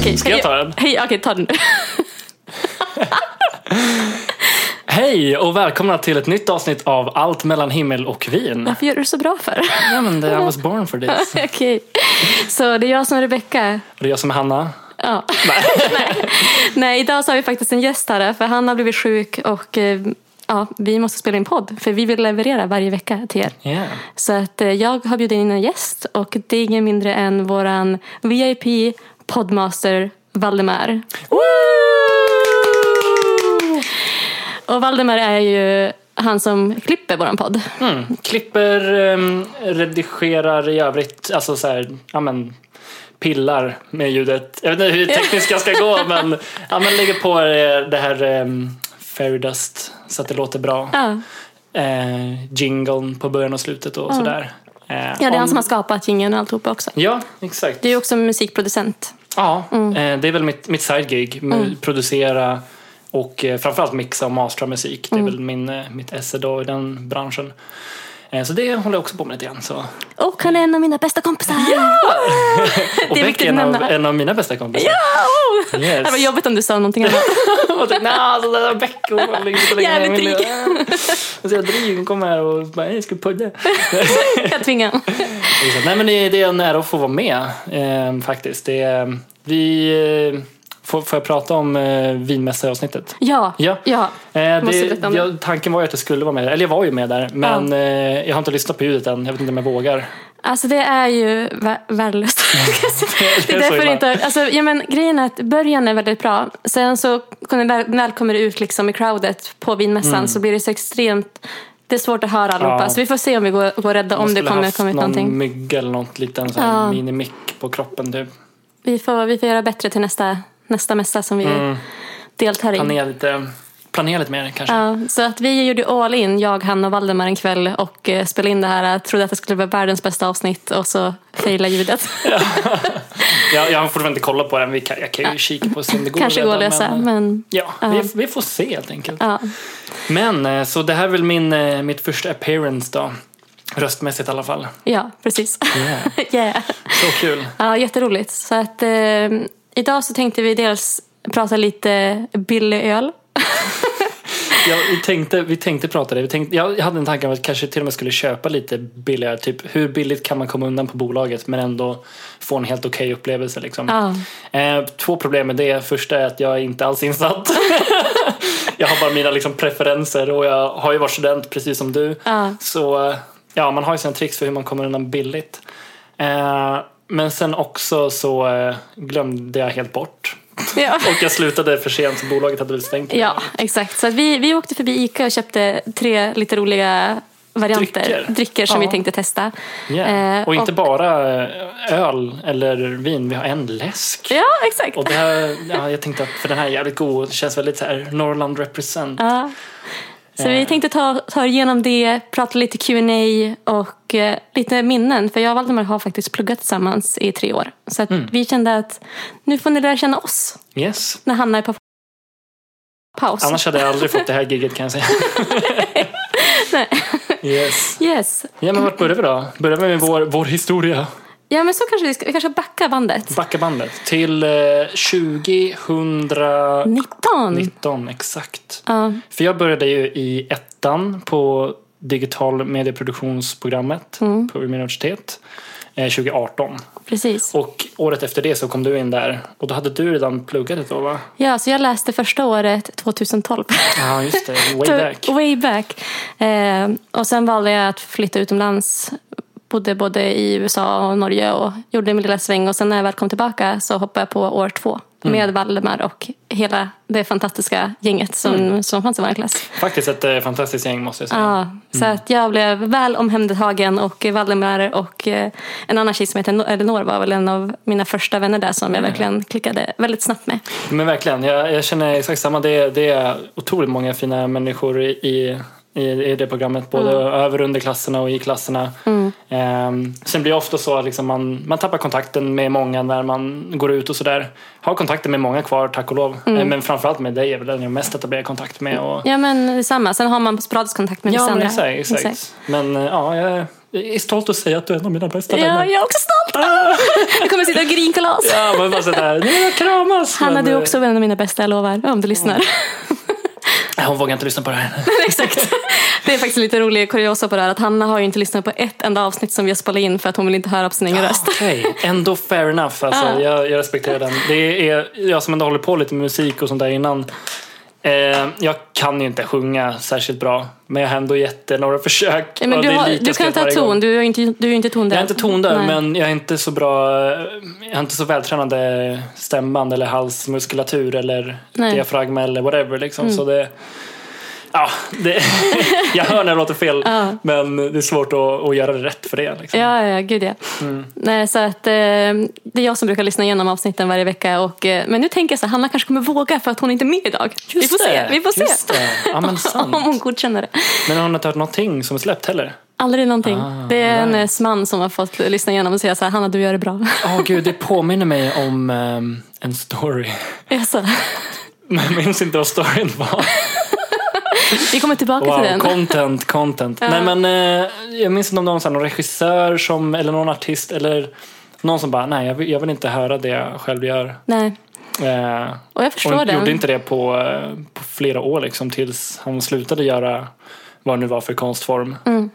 Okej, Ska jag ta den? Hej, okej, ta den. Hej och välkomna till ett nytt avsnitt av Allt mellan himmel och vin. Varför gör du det så bra för? Ja, men det, I was born for this. okej. Så det är jag som är Rebecka. Och det är jag som är Hanna. Ja. Nej, idag så har vi faktiskt en gäst här för han har blivit sjuk och eh, ja, vi måste spela in podd för vi vill leverera varje vecka till er. Yeah. Så att eh, jag har bjudit in en gäst och det är ingen mindre än våran VIP poddmaster Valdemar. Och Valdemar är ju han som klipper våran podd. Mm. Klipper, ehm, redigerar i övrigt, alltså så här, ja men pillar med ljudet. Jag vet inte hur tekniskt jag ska gå men, ja, men lägger på eh, det här um, Fairdust så att det låter bra. Ja. Eh, jingeln på början och slutet och sådär. Eh, Mm. Ja, det är om- han som har skapat jingeln och alltihopa också. Ja, exakt. Du är också musikproducent. Ja, Mm. eh, det är väl mitt, mitt sidegig. Mu- Producera och eh, framförallt mixa och mastra musik. Mm. Det är väl min, eh, mitt esse då i den branschen. Eh, Så det håller jag också på med lite grann. Så. Och han är en av mina bästa kompisar! Och Det är Beck är viktigt en att av, nämna. en av mina bästa kompisar. Ja! Yes. Det var jobbigt om du sa någonting annat. Och tänkte, nej alltså det där Beck hon har legat så länge. Jävligt Jag vill- dryg. Och så jag dryg, hon kom här och bara, "Hej, jag ska podda. Jag tvingade honom. Exakt. Nej men det det är en ära att få vara med eh, faktiskt. Det är, vi, eh, får, får jag prata om eh, vinmässa-avsnittet? Ja, Ja. ja. Eh, Måste det, berätta om jag, tanken var ju att jag skulle vara med, eller jag var ju med där, men eh, jag har inte lyssnat på ljudet än. Jag vet inte om jag vågar. Alltså det är ju vä- värdelöst. det är är så därför illa. det inte har- alltså, ja, men Grejen är att början är väldigt bra. Sen så när väl, väl kommer det ut liksom i crowdet på vinmässan så blir det så extremt... Det är svårt att höra allihopa. Ja. Så vi får se om vi går, går rädda om det skulle kommer haft komma ut någonting. någon mygga eller något liten sån här Ja. minimick på kroppen typ. Vi får, vi får göra bättre till nästa, nästa mässa som vi deltar i. Planera lite, planera lite mer kanske. Mm. Ja, så att vi gjorde all in, jag, Hanna och Valdemar en kväll och eh, spelade in det här. Jag trodde att det skulle bli världens bästa avsnitt och så failade ljudet. Jag, jag har fortfarande inte kollat på den, vi kan, jag kan ju kika på och se om det går. Kanske går att redan, lösa, men- men Ja, Ja. vi, vi får se helt enkelt. ja. Men eh, så det här är väl min, eh, mitt första appearance då. Röstmässigt i alla fall. Ja, precis. Yeah. yeah. Så kul. Ja, jätteroligt. Så att, eh, idag så tänkte vi dels prata lite billig öl. Jag, vi, tänkte, vi tänkte prata det. Vi tänkte, jag hade en tanke om att kanske till och med skulle köpa lite billigare. Typ hur billigt kan man komma undan på bolaget men ändå få en helt okej upplevelse. Liksom. Ja. Eh, två problem med det. Första är att jag är inte alls insatt. jag har bara mina liksom, preferenser och jag har ju varit student precis som du. Ja. Så eh, ja, man har ju sina tricks för hur man kommer undan billigt. Eh, men sen också så eh, glömde jag helt bort. Ja. Och jag slutade för sent så bolaget hade väl stängt. ja, exakt. Så att vi, vi åkte förbi Ica och köpte tre lite roliga varianter. Drycker. som Ja. vi tänkte testa. Yeah. Eh, och inte bara eh, öl eller vin, vi har en läsk. Ja, exakt. Och det här, ja, jag tänkte att för den här är jävligt god, det känns väldigt så här Norrland represent. Ja. Så Eh. vi tänkte ta, ta igenom det, prata lite Q&A och eh, lite minnen. För jag och Valdemar har faktiskt pluggat tillsammans i tre år. Så att Mm. vi kände att nu får ni lära känna oss Yes. när Hanna är på paus. Annars hade jag aldrig fått det här giget kan jag säga. Yes. Yes. Ja men vart börjar vi då? Börjar vi med vår, vår historia? Ja men så kanske vi ska, vi kanske ska backa bandet. Backa bandet till eh, 2019 19! exakt. Ja, För jag började ju i ettan på digital medieproduktionsprogrammet på Umeå universitet eh, 2018. precis. Och året efter det så kom du in där och då hade du redan pluggat ett år va? Ja, så jag läste första året 2012. Ja just det, way back. Way back. Eh, och sen valde jag att flytta utomlands. Bodde både i USA och Norge och gjorde min lilla sväng. Och sen när jag väl kom tillbaka så hoppade jag på år två Mm. med Valdemar och hela det fantastiska gänget som, Mm. som fanns i vår klass. Faktiskt ett eh, fantastiskt gäng måste jag säga. Ja, Så Mm. att jag blev väl omhändertagen och Valdemar och eh, en annan tjej som heter No- Elinor var väl en av mina första vänner där som jag Mm. verkligen klickade väldigt snabbt med. Men verkligen, jag, jag känner exakt samma. Det, det är otroligt många fina människor i, i i, i det programmet. Både Mm. över och underklasserna och i klasserna. Ehm, sen blir det ofta så att liksom man, man tappar kontakten med många när man går ut och sådär. Har kontakten med många kvar, tack och lov. Mm. Men framförallt med dig är väl den jag mest etablerar kontakt med. Och, Ja, men detsamma. Sen har man sporadisk kontakt med vissa men andra. exakt, exakt. Men eh, ja, jag är- jag är stolt att säga att du är en av mina bästa Ja, vänner. jag är också stolt! Jag kommer sitta och grinkalas. Ah. Ja, men bara sådär, nu är jag kramas. Hanna, men, du är eh, också en av mina bästa, jag lovar. Om du lyssnar. nej, Hon vågar inte lyssna på det här. Exakt. Det är faktiskt lite rolig kuriosa på det här att Hanna har ju inte lyssnat på ett enda avsnitt som vi har spelat in för att hon vill inte höra på sin egen röst. Ah, Okej, ändå fair enough. Alltså, Ja. jag, jag respekterar den. Det är jag som ändå håller på lite med musik och sånt där innan. Eh, jag kan ju inte sjunga särskilt bra, men jag har ändå gett det några försök. Nej, Men och du, det är har, lite du kan skratt ta varje ton, gång. du är ju inte, du är ju inte tondöv. Jag är inte tondöv, Nej. men jag är inte så bra. Jag har inte så vältränade stämband eller halsmuskulatur eller Nej. Mm. diafragma eller whatever. Liksom. Så det, ja, det, jag hör när det låter fel, Ja. men det är svårt att, att göra det rätt för det. Liksom. Ja, ja, gud ja. Mm. Nej, så att, eh, det är jag som brukar lyssna igenom avsnitten varje vecka. Och, eh, men nu tänker jag så här, Hanna kanske kommer våga för att hon inte är med idag. vi får se, det, vi får just se. det. Ja, men sant. Om hon godkänner det. Men har hon inte hört någonting som är släppt heller? Aldrig någonting. Ah, det är en right. eh, man som har fått lyssna igenom och säga så här, Hanna du gör det bra. Åh gud, det påminner mig om ehm, en story. Jaså? Men jag minns inte vad storyn var. vi kommer tillbaka till Wow, den. content, content. Nej men eh, jag minns inte om det var någon, sån här- någon regissör som, eller någon artist eller någon som bara, nej jag vill, jag vill inte höra det jag själv gör. Nej. Eh, Och jag förstår och den. gjorde inte det på, eh, på flera år liksom tills han slutade göra vad det nu var för konstform. Mm.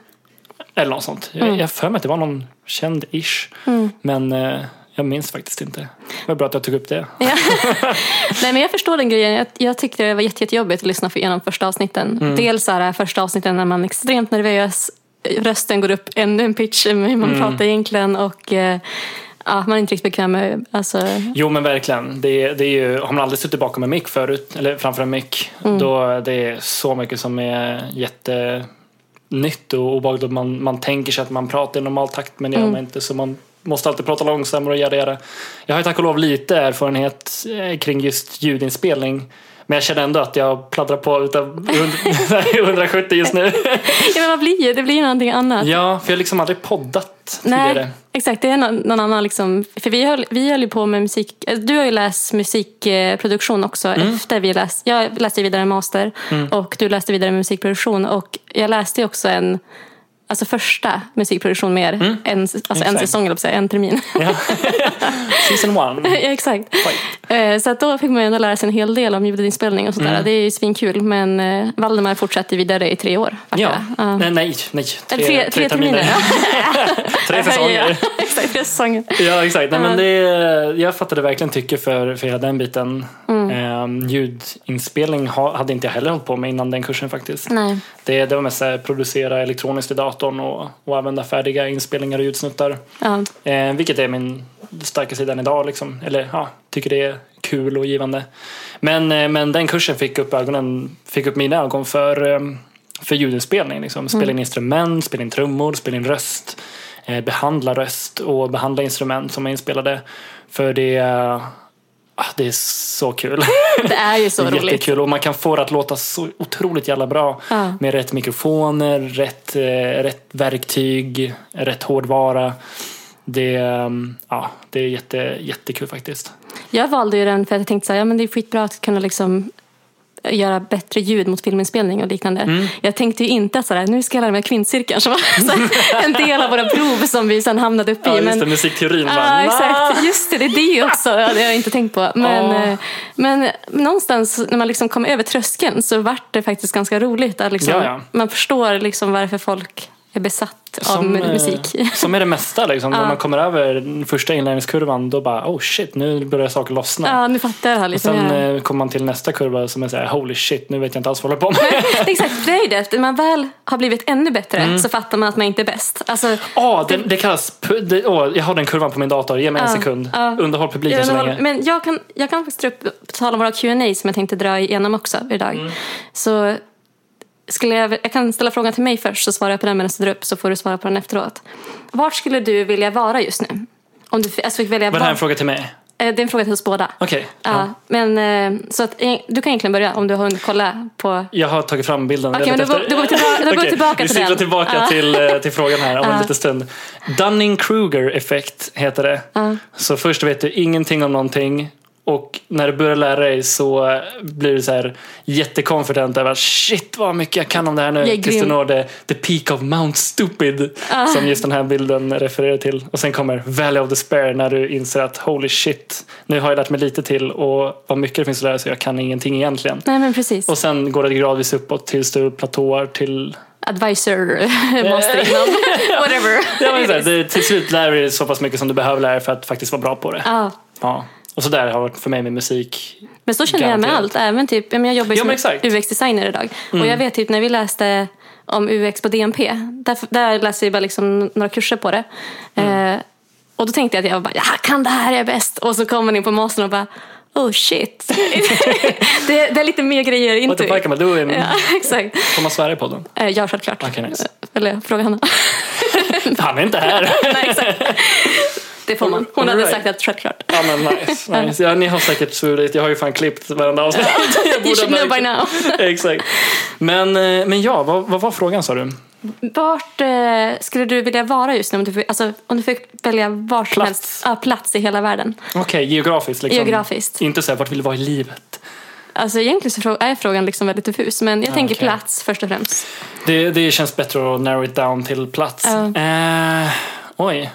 Eller något sånt. Jag- Jag har för mig att det var någon känd-ish. Mm. Men eh, jag minns faktiskt inte. Det var bra att jag tog upp det. Ja. Nej men jag förstår den grejen. Jag, jag tyckte det var jätte, jättejobbigt att lyssna för igenom första avsnitten. Mm. Dels så här första avsnitten när man är extremt nervös. eh, Rösten går upp ännu en pitch än hur Mm. man pratar egentligen. Och eh, ja, man är inte riktigt bekväm med... Alltså, Jo men verkligen. Det, är- det är ju, har man aldrig suttit bakom en mick förut, eller framför en mick, Mm. då det är så mycket som är jättenytt och obehagligt. Och Man, man tänker sig att man pratar i normal takt men det gör Mm. man inte. Så man måste alltid prata långsammare och göra göra. Jag har ju tack och lov lite erfarenhet eh, kring just ljudinspelning. Men jag känner ändå att jag pladdrar på utav 170 just nu. ja, men vad blir det? Det blir ju någonting annat. Ja, för jag har liksom aldrig poddat Nej, tidigare. exakt. Det är någon, någon annan liksom. För vi höll, vi höll ju på med musik. eh, Du har ju läst musikproduktion också Mm. efter vi läst. Jag läste ju vidare master och du läste vidare musikproduktion och jag läste ju också en Alltså första musikproduktion mer en, alltså en Mm. Exakt. säsong, eller en termin. Ja. Season one. ja, exakt. Fight. Eh, Så att då fick man ju ändå lära sig en hel del om ljudinspelning och Mm. sådär. Det är ju svinkul. Men eh, Valdemar fortsatte vidare i tre år. vart Ja, det. Ja. nej, nej, nej. Tre, Eller tre, tre, terminer. tre Ja, säsonger. exakt, tre säsonger. Ja, exakt. Nej, men det, är- jag fattade verkligen tycke för, för hela den biten. Ehm, ljudinspelning ha, hade inte jag heller hållit på med innan den kursen faktiskt. Nej. Det, det var mest så här, producera elektroniskt i datorn och, och använda färdiga inspelningar och ljudsnuttar. Ja. Eh, vilket är min starka sida än idag. Liksom. Eller ja, tycker det är kul och givande. Men, eh, men den kursen fick upp, ögonen, fick upp mina ögon för, eh, för ljudinspelning. Liksom. Spela in instrument, spela in trummor, spela in röst. Eh, behandla röst och behandla instrument som är inspelade. För det, eh, ah, det är så kul. Det är ju så Det är roligt. jättekul och man kan få det att låta så otroligt jävla bra Ja. med rätt mikrofoner, rätt, eh, rätt verktyg, rätt hårdvara. Det, eh, ja, det är jätte, jättekul faktiskt. Jag valde ju den för att jag tänkte så här, ja men det är skitbra att kunna liksom göra bättre ljud mot filminspelning och liknande. Mm. Jag tänkte ju inte att så här, nu ska jag lära mig kvintcirkeln som var så här, en del av våra prov som vi sen hamnade uppe i. Ja, just Men, det, musikteorin. Ja, bara, "Nah." exakt. Just det, det är det också. Ja, Det har jag inte tänkt på. Men, Ja. eh, men någonstans när man liksom kom över tröskeln så vart det faktiskt ganska roligt. Att liksom, Ja, ja. Man förstår liksom varför folk är besatt Som, av eh, musik. Som är det mesta. Liksom. När man kommer över den första inlärningskurvan då bara oh shit, nu börjar saker lossna. Ja, nu fattar jag det här. Liksom, Sen ja. eh, kommer man till nästa kurva som är så här, holy shit, nu vet jag inte alls vad jag håller på med. Det är Exakt, för det är ju det. När man väl har blivit ännu bättre Mm. så fattar man att man inte är bäst. Alltså, Ja, det, det kallas... pu- Det, åh, jag har den kurvan på min dator. Ge mig en Ja, sekund. ja. Underhåll publiken så länge. men jag kan, jag kan faktiskt dra upp, på tal om våra Q&A som jag tänkte dra igenom också idag. Mm. Så skulle jag, jag kan ställa frågan till mig först så svarar jag på den medan du drar upp så får du svara på den efteråt. Vart skulle du vilja vara just nu? Om du f- alltså, fick välja Var det här en var, fråga till mig? Eh, Det är en fråga till oss båda. Okej. Ja. men, eh, så att, eh, du kan egentligen börja om du har hunnit kolla på... Jag har tagit fram bilden. Okej, Jag men då letar går- då går vi tillbaka- då går vi Okej, tillbaka till Vi cyklar den. tillbaka Ja. till, eh, till frågan här om en Ja. liten stund. Dunning-Kruger-effekt heter det. Ja. Så först vet du ingenting om någonting och när du börjar lära dig så blir du så här jättekonfident över att shit vad mycket jag kan om det här nu. Jag är tills du grym. når the, the peak of Mount Stupid som just den här bilden refererar till. Och sen kommer Valley of Despair när du inser att holy shit, nu har jag lärt mig lite till och vad mycket det finns att lära sig jag kan ingenting egentligen. Nej, men precis. Och sen går det gradvis uppåt tills du platåar till... Advisor måste inom. Whatever. Ja, men så här, det, till slut lär du dig så pass mycket som du behöver lära dig för att faktiskt vara bra på det. Ja. Ja. Och så där har det varit för mig med musik. Men så känner jag med Garanterat. allt. Även typ, jag, menar, jag jobbar Ja, men ju som exakt. Mm. UX-designer idag. Och jag vet typ när vi läste om UX på DNP. Där, där läste vi bara liksom några kurser på det. Mm. Eh, och då tänkte jag att jag bara, jag kan det här, jag är bäst. Och så kommer man in på mastern och bara, oh shit. det, det är lite mer grejer What the into fuck it. am I doing? Ja, exakt. Får man svära i podden? Eh, ja, självklart. Okej, nice. Eller fråga henne. Han är inte här! Nej, exakt. Det får man. Hon hade Alright. sagt att självklart. ja, men nice, nice. Ja, ni har säkert svurit. Jag har ju fan klippt varenda avsnitt. Jag You should ha know by märkt. now. Exakt. Men, eh, men ja, vad, vad var frågan sa du? Vart eh, skulle du vilja vara just nu? Om du fick, alltså, om du fick välja var som Plats. helst ja, plats i hela världen. Okej, geografiskt. Liksom. Geografiskt. Inte så här, vart vill du vara i livet? Alltså, egentligen så frå- är frågan liksom väldigt diffus, men jag tänker Ah, okej. plats först och främst. Det, det känns bättre att narrow it down till plats. Ja. Eh, oj.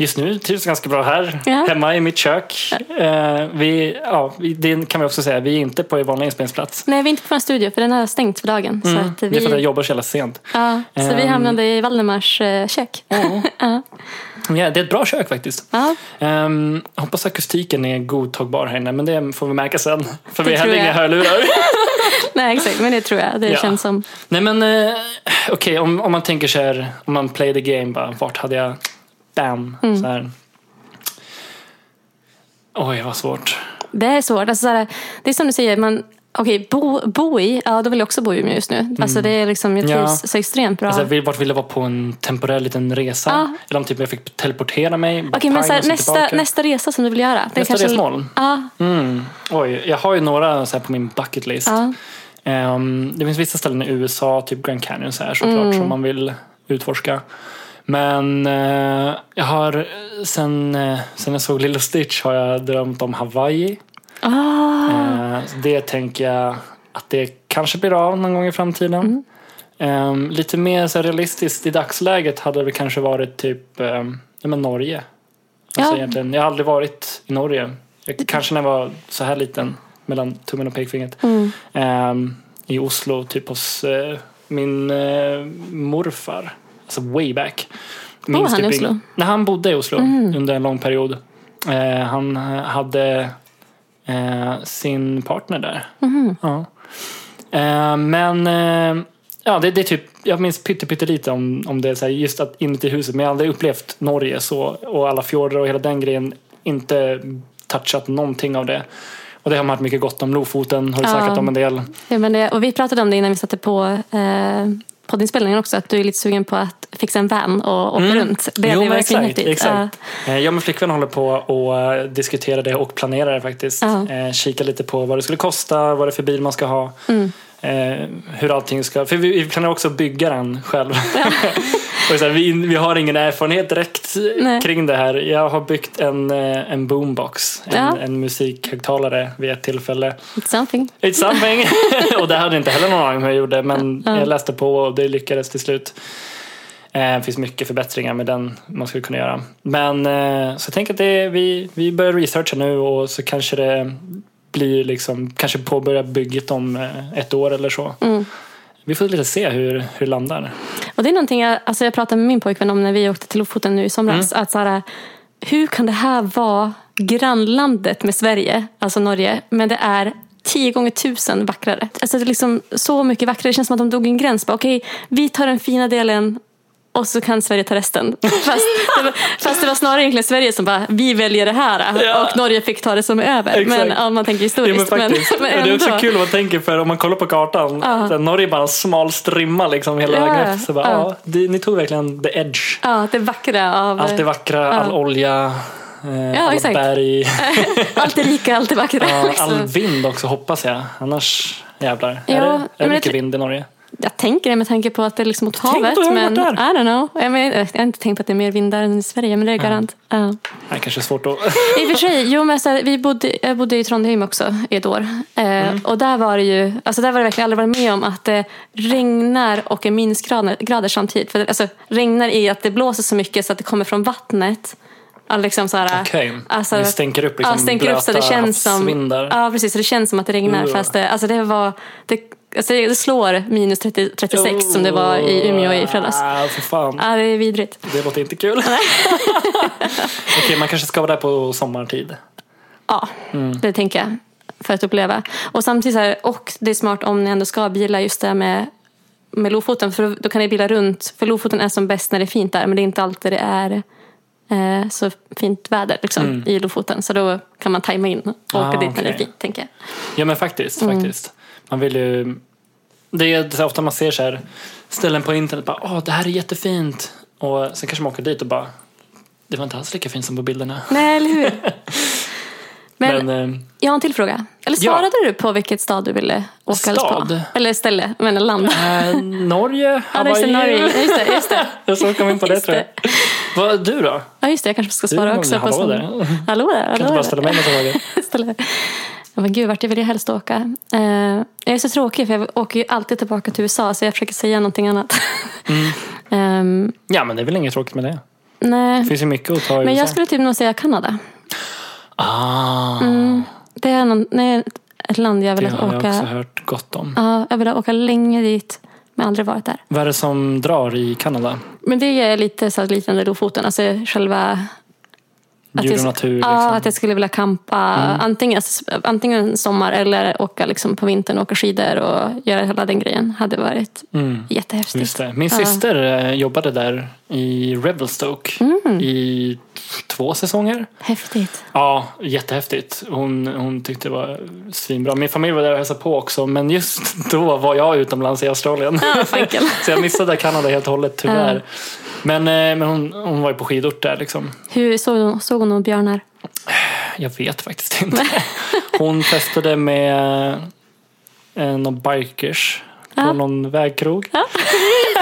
Just nu trivs jag ganska bra här, Ja. hemma i mitt kök. Eh, vi, ja, vi- det kan vi också säga, vi är inte på vår vanliga inspelningsplats. Nej, vi är inte på en studio, för den har stängt för dagen. så att Mm. Det är för att jag vi, jobbar så jävla sent. ja, så vi Ehm. hamnade i Valdemars eh, kök. Ja, det är ett bra kök faktiskt. Ja, Ehm, hoppas akustiken är godtagbar här inne, men det får vi märka sen. För vi Det har tror inga jag. hörlurar. nej, exakt, men det tror jag. Det Ja. känns som... Nej men eh, okej, om, om man tänker så här, om man play the game, bara, vart hade jag, bam, Mm. så här. Oj, vad svårt. Det är svårt. Alltså, så här, det är som du säger, man, okej, bo, bo i, ja då vill jag också bo i Umeå just nu. Alltså, det är liksom, jag Mm. Ja. trivs så extremt bra. Alltså, vill- vart vill jag vara på en temporär liten resa? Ja. Eller om typ jag fick teleportera mig. bara Okej, men pang, så här, och så nästa, tillbaka. nästa resa som du vill göra. den Nästa kanske- resmål? Ja, Mm. Oj, jag har ju några så här på min bucket list. Ja. Ehm, det finns vissa ställen i USA, typ Grand Canyon så här, såklart, Mm. som man vill utforska. Men eh, jag har sen, eh, sen jag såg Lilo Stitch har jag drömt om Hawaii. Ah, Eh, så det tänker jag att det kanske blir av någon gång i framtiden. Ehm, lite mer så här, realistiskt i dagsläget hade det kanske varit typ ehm, ja, men Norge. Alltså Ja. egentligen, jag har aldrig varit i Norge. Jag, kanske när jag var så här liten, mellan tummen och pekfingret. Mm. Ehm, I Oslo, typ hos eh, min eh, morfar. Alltså way back. Minns han i ing- Oslo? Mhm. Nej, han bodde i Oslo under en lång period. Eh, han hade eh, sin partner där. Mm. Ja. Eh, men eh, ja, det, det är typ, jag minns pytte, pytte lite om, om det, så här, just att inuti huset. Men jag har aldrig upplevt Norge så, och alla fjordar och hela den grejen. Inte touchat någonting av det. Och det har man hört mycket gott om. Lofoten har du Ja. snackat om en del. ja, men det, och vi pratade om det innan vi satte på eh, poddinspelningen också, att du är lite sugen på att fixa en van och åka runt. Det hade ju Mm. men verkligen häftigt. exakt. Eh, Jag och min flickvän håller på och eh, diskuterar det och planerar det faktiskt. Ja. Eh, Kika lite på vad det skulle kosta, vad det är för bil man ska ha. Mm. eh, Hur allting ska... För vi vi planerar också att bygga den själv. och så här, vi, vi har ingen erfarenhet direkt Nej. kring det här. Jag har byggt en, eh, en boombox, en, Ja. en musikhögtalare vid ett tillfälle. Ja, it's something. It's something! och det hade jag inte heller någon aning om hur jag gjorde men jag läste på och det lyckades till slut. Eh, Det finns mycket förbättringar med den man skulle kunna göra. Men eh, så jag tänker att det, vi, vi börjar researcha nu och så kanske det blir liksom, kanske påbörja bygget om eh, ett år eller så. Mm. Vi får lite se hur, hur det landar. Och det är någonting jag, alltså jag pratade med min pojkvän om när vi åkte till Lofoten nu i somras. Mm. Att så här, hur kan det här vara grannlandet med Sverige, alltså Norge, men det är tio gånger tusen vackrare. Alltså det är liksom så mycket vackrare. Det känns som att de drog en gräns. Bara, Okej, vi tar den fina delen och så kan Sverige ta resten. Fast det var, fast det var snarare egentligen Sverige som bara, vi väljer det här. Ja. Och Norge fick ta det som är över. Exakt. Men om man tänker historiskt. Ja, men faktiskt. men Och det är också ändå. kul vad man tänker för om man kollar på kartan. Ja. så här, Norge är bara en smal strimma liksom hela Ja, vägen efter. Så bara, ja. ja, det- ni tog verkligen the edge. Ja, det vackra av... Allt det vackra, all olja, eh, Ja, alla exakt. berg, Allt är lika, allt är vackert. ja, Så all vind också hoppas jag. Annars jävlar. Ja, är det, men är jag det mycket tror- vind i Norge? Jag tänker det med tanke på att det är liksom mot Tänk på havet. hur det har Men I varit där. don't know. Jag, men, jag har inte tänkt på att det är mer vindar än i Sverige, men det är garant. Ja. Det kanske är svårt att... I och för sig, jo, men så här, vi bodde, jag bodde i Trondheim också i ett år. Eh, Mm. Och där var det ju, alltså där var det verkligen aldrig varit med om att det regnar och är minusgrader grader samtidigt. För det, alltså, regnar i att det blåser så mycket så att det kommer från vattnet. Ja, Liksom så här, Okej, alltså, det stänker upp liksom ja, stänker upp så det blöta känns som, havsvindar. Ja, precis. Så det känns som att det regnar. Ugh. Fast det, alltså det var... Det, alltså det slår minus 30, 36 som det var i Umeå i fredags. Ah, för fan. Ja, det är vidrigt. Det låter inte kul. Okej, man kanske ska vara där på sommartid. Ja, det tänker jag. För att uppleva. Och samtidigt så här, och det är smart om ni ändå ska bila just det här med, med Lofoten. För då kan ni bila runt. För Lofoten är som bäst när det är fint där. Men det är inte alltid det är eh, så fint väder liksom, i Lofoten. Så då kan man tajma in och åka Mm. Ah, dit när det är okej. fint, tänker jag. Ja men faktiskt, Mm. faktiskt. Man vill ju... Det är så här, ofta man ser så här, ställen på internet bara åh det här är jättefint. Och sen kanske man åker dit och bara det var inte alls lika fint som på bilderna. Nej, eller hur? Men, Men, eh, jag har en till fråga. Eller Ja. svarade du på vilket stad du ville åka eller Stad? på? Eller ställe, men land. eh, Norge, Ja, just det, Hawaii. Norge. Just det, just det. Så kom in på det Just tror jag. det. Vad, du då? Ja, just det. Jag kanske ska Du, svara Malin, också. På hallå sån- där. Hallå där. Kan du Hallå bara där. ställa mig några frågor? Ställa- Ja, men gud, vart vill jag helst åka? Eh, jag är så tråkig för jag åker ju alltid tillbaka till USA så jag försöker säga någonting annat. Mm. Ehm, Ja men det är väl inget tråkigt med det. nej. Det finns ju mycket att ta i Men USA. jag skulle typ nog säga Kanada. Ah, Det är någon, nej, ett land jag vill det har jag också Mm, åka. hört gott om. Ja, jag vill åka länge dit men aldrig varit där. Vad är det som drar i Kanada? Men det är lite så här liknande Lofoten, alltså själva... Djur och jag- natur Ja, liksom. Mm. att jag skulle vilja kampa antingen, alltså, antingen sommar eller åka liksom på vintern och åka skidor och göra hela den grejen. Hade varit jättehäftigt. Mm. Just det. Min syster eh, jobbade där i Revelstoke Mm. i två säsonger. Häftigt. Ja, jättehäftigt. Hon, hon tyckte det var svinbra. Min familj var där och hälsade på också, men just då var jag utomlands i Australien. Ja, fankel. Så jag missade Kanada helt och hållet tyvärr. Men, eh, men hon, hon var ju på skidort där liksom. Hur såg hon, såg hon några björnar? Jag vet faktiskt inte. Hon festade med eh, någon bikers på någon vägkrog.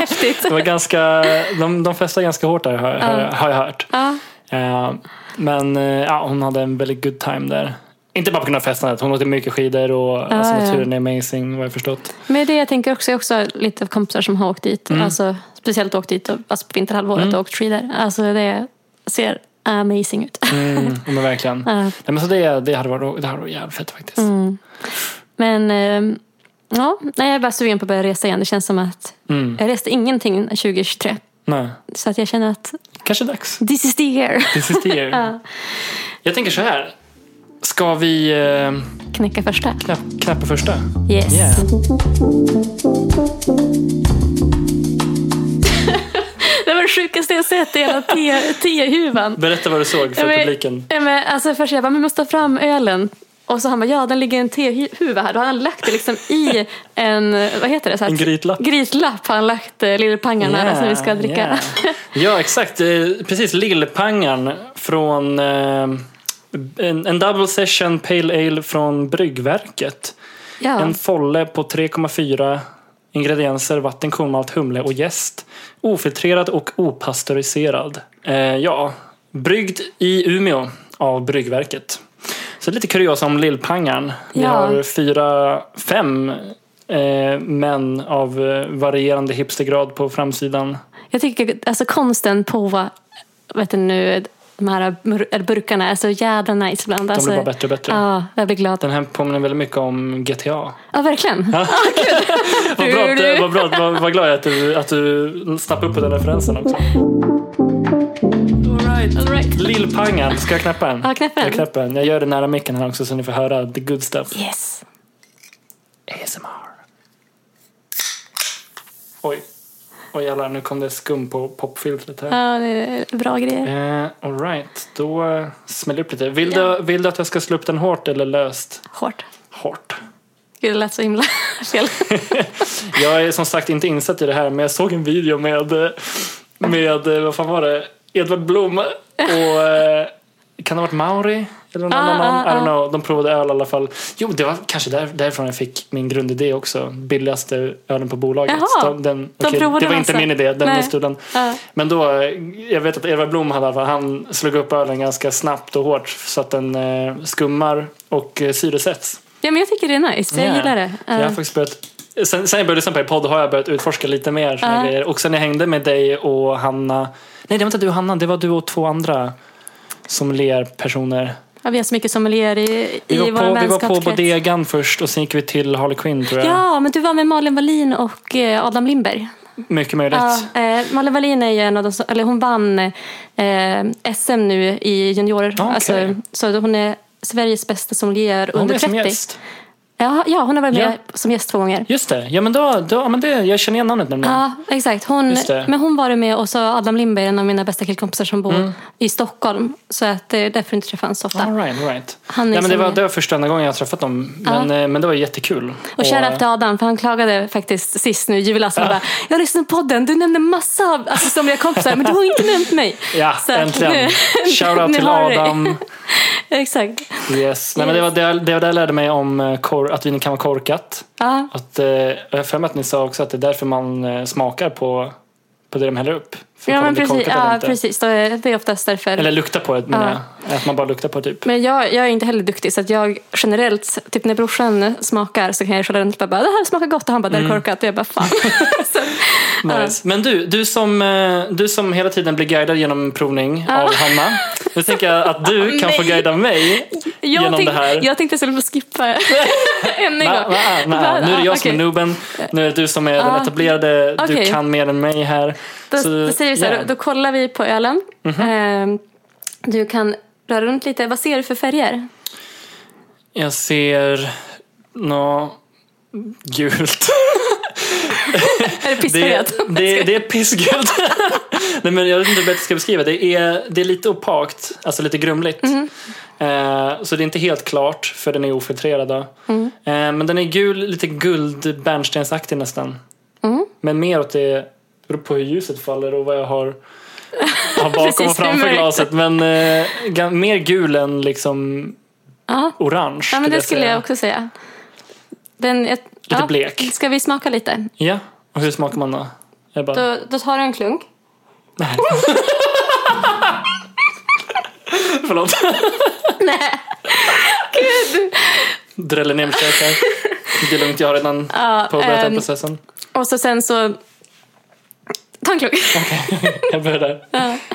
Häftigt. Det var ganska, de, de festade ganska hårt där har, har, har jag hört. Ja, Eh, men eh, ja, hon hade en väldigt good time där. Inte bara på grund av festandet, hon åkte mycket skidor och alltså, ja. naturen är amazing vad jag förstått. men det jag tänker också, jag har också lite av kompisar som har åkt dit, Mm. alltså, speciellt åkt dit och- alltså på vinterhalvåret och åkt skidor. Alltså det ser amazing ut. Mm, men verkligen. Ja. Mm. Nej, men så det, det, hade varit, det hade varit jävligt fett faktiskt. Men ehm, ja, nej, jag är bara sugen på att börja resa igen. Det känns som att Mm. jag reste ingenting 2023. Nej. Så att jag känner att Kanske dags. this is the year. This is the year. Jag tänker så här. Ska vi eh, Knäcka första. knä- knäppa första? Yes. Yeah. Det var det sjukaste jag sett i hela te- tehuvan. Berätta vad du såg för Ja, men- publiken. ja, men, alltså, först jag bara, men måste ta fram ölen. Och så han bara, ja den ligger i en tehuva här. Då har han lagt det liksom i en, vad heter det? Så här, En grytlapp. Grytlapp har han lagt eh, lillpangarna yeah, som vi ska dricka. yeah. ja, exakt. Eh, Precis, Lillpangan från eh, en, en double session pale ale från Bryggverket. Ja. En folle på 3,4 ingredienser, vatten, kornmalt, humle och jäst. Ofiltrerad och opastöriserad. Eh, ja, bryggd i Umeå av Bryggverket. Så lite kuriosa om Lillpangan. Vi Ja. har fyra, fem eh, män av eh, varierande hipstergrad på framsidan. Jag tycker alltså konsten på vad, vet du nu, de här mur- eller burkarna är så jädra nice ibland. De Alltså, blir bara bättre och bättre. Ja, jag blir glad. Den här påminner väldigt mycket om GTA. Ja, verkligen. Vad bra, att, eh, vad, bra att- vad, vad glad jag är att du, att du snappade upp på den referensen också. All right. All right. Lillpangan, ska jag knäppa den? Ja, knäpp den. Jag knäpper den. Jag gör det nära micken här också så ni får höra the good stuff. Yes. ASMR. Oj. Oj jävlar, nu kom det skum på popfiltret här. Ja, det är bra grejer. Eh, all right, då eh, smäller jag upp lite. Vill, Ja. du, vill du att jag ska slå upp den hårt eller löst? Hårt. Hårt. Gud, det lät så himla fel. Jag är som sagt inte insatt i det här men jag såg en video med, med vad fan var det? Edvard Blom och eh, kan det ha varit Mauri? Eller någon Ah, annan? ah, I don't ah. know. De provade öl i alla fall. Jo, det var kanske där, därifrån jag fick min grundidé också. Billigaste ölen på bolaget. Jaha. Så den, De okej, provade det var en inte massa. min idé, den Nej. metoden. Ja. Men då, eh, jag vet att Edvard Blom hade, i alla fall- han slog upp ölen ganska snabbt och hårt så att den eh, skummar och eh, syresätts. ja, men jag tycker det är nice. Jag Ja. gillar det. Jag har Ja. faktiskt börjat, sen, sen jag började lyssna på er podd har jag börjat utforska lite mer såna Ja. grejer. Och sen jag hängde med dig och Hanna. Nej, det var inte du och Hanna, det var du och två andra sommelierpersoner. Ja, vi har så mycket sommelier i, Vi i vår var, på, vi var på vänskapskrets. Bodegan först och sen gick vi till Harley Quinn tror jag. Ja, men du var med Malin Wallin och eh, Adam Lindberg. Mycket möjligt. Ja, eh, Malin Wallin är ju en av de som, eller hon vann eh, SM nu i juniorer. Ah, okej. Alltså, så hon är Sveriges bästa sommelier Hon under blev som 30. gäst. Ja, ja, hon har varit med Ja. som gäst två gånger. Just det, ja men då, då ja, men det, jag känner igen namnet nämligen. Ja, exakt. Hon, Just det. men hon var det med och så Adam Lindberg, en av mina bästa killkompisar som bor Mm. i Stockholm. Så att det är därför jag inte träffar honom så ofta. All right, all right. Han är Nej, men det, som- var, det var första enda gången jag träffat dem. Men, eh, men det var jättekul. Och shoutout till Adam, för han klagade faktiskt sist nu i julas. Han bara, jag lyssnade på podden, du nämnde massa av alltså, som jag kompisar, men du har inte nämnt mig. Ja, Så att äntligen. nu- Shoutout nu till har du- Adam. Exakt. Yes. Nej, men det var det, det var det jag lärde mig om eh, kor, att vin kan vara korkat. Ja, Att, eh, jag har för mig att ni sa också att det är därför man eh, smakar på, på det de häller upp. För att kolla ja om men det är precis. korkat eller Ja, inte. precis. Då är- Det är oftast därför. Eller lukta på det menar jag. Att man bara luktar på det, typ. Men jag, jag är inte heller duktig så att jag generellt, typ när brorsan smakar så kan jag köra runt och bara, bara det här smakar gott och han bara det är Mm. korkat och jag bara fan. så, Nice. Men du, du som, eh, du som hela tiden blir guidad genom provning av Hanna. Nu tänker jag att du kan få Nej. guida mig genom jag, tänk, det här. jag tänkte att jag skulle få skippa ännu en Va, gång. va, va, Va? Nu är det jag Ah, som är okej. nooben, nu är det du som är den Ah. etablerade, du Okej. kan mer än mig här. Då, Så, då säger vi så här, ja. Mhm. då, då kollar vi på ölen. Ehm, du kan röra runt lite, vad ser du för färger? Jag ser nå gult. Är det Det, pissfärgat? det, det är pissgult. Nej, men jag vet inte hur jag ska beskriva det. Är, det är lite opakt, alltså lite grumligt. Mhm. Eh, så det är inte helt klart, för den är ofiltrerad. Då. Mhm. Eh, men den är gul, lite guld bärnstensaktig nästan. Mhm. Men mer åt det, det beror på hur ljuset faller och vad jag har, har bakom Precis, och det är framför mörkt. glaset. Men eh, gan- mer gul än liksom Ja. orange. Ja, men det skulle säga. jag också säga. Den, är- Lite ja. blek. Ska vi smaka lite? Ja, och hur smakar man då? Jag bara, Då, då tar du en klunk. Nej. Förlåt. Nej. Dräller ner mig käkar. Det är lugnt, jag har redan Ja, påbörjat den ehm, processen. Och så sen så... Ta en klunk. Jag börjar där.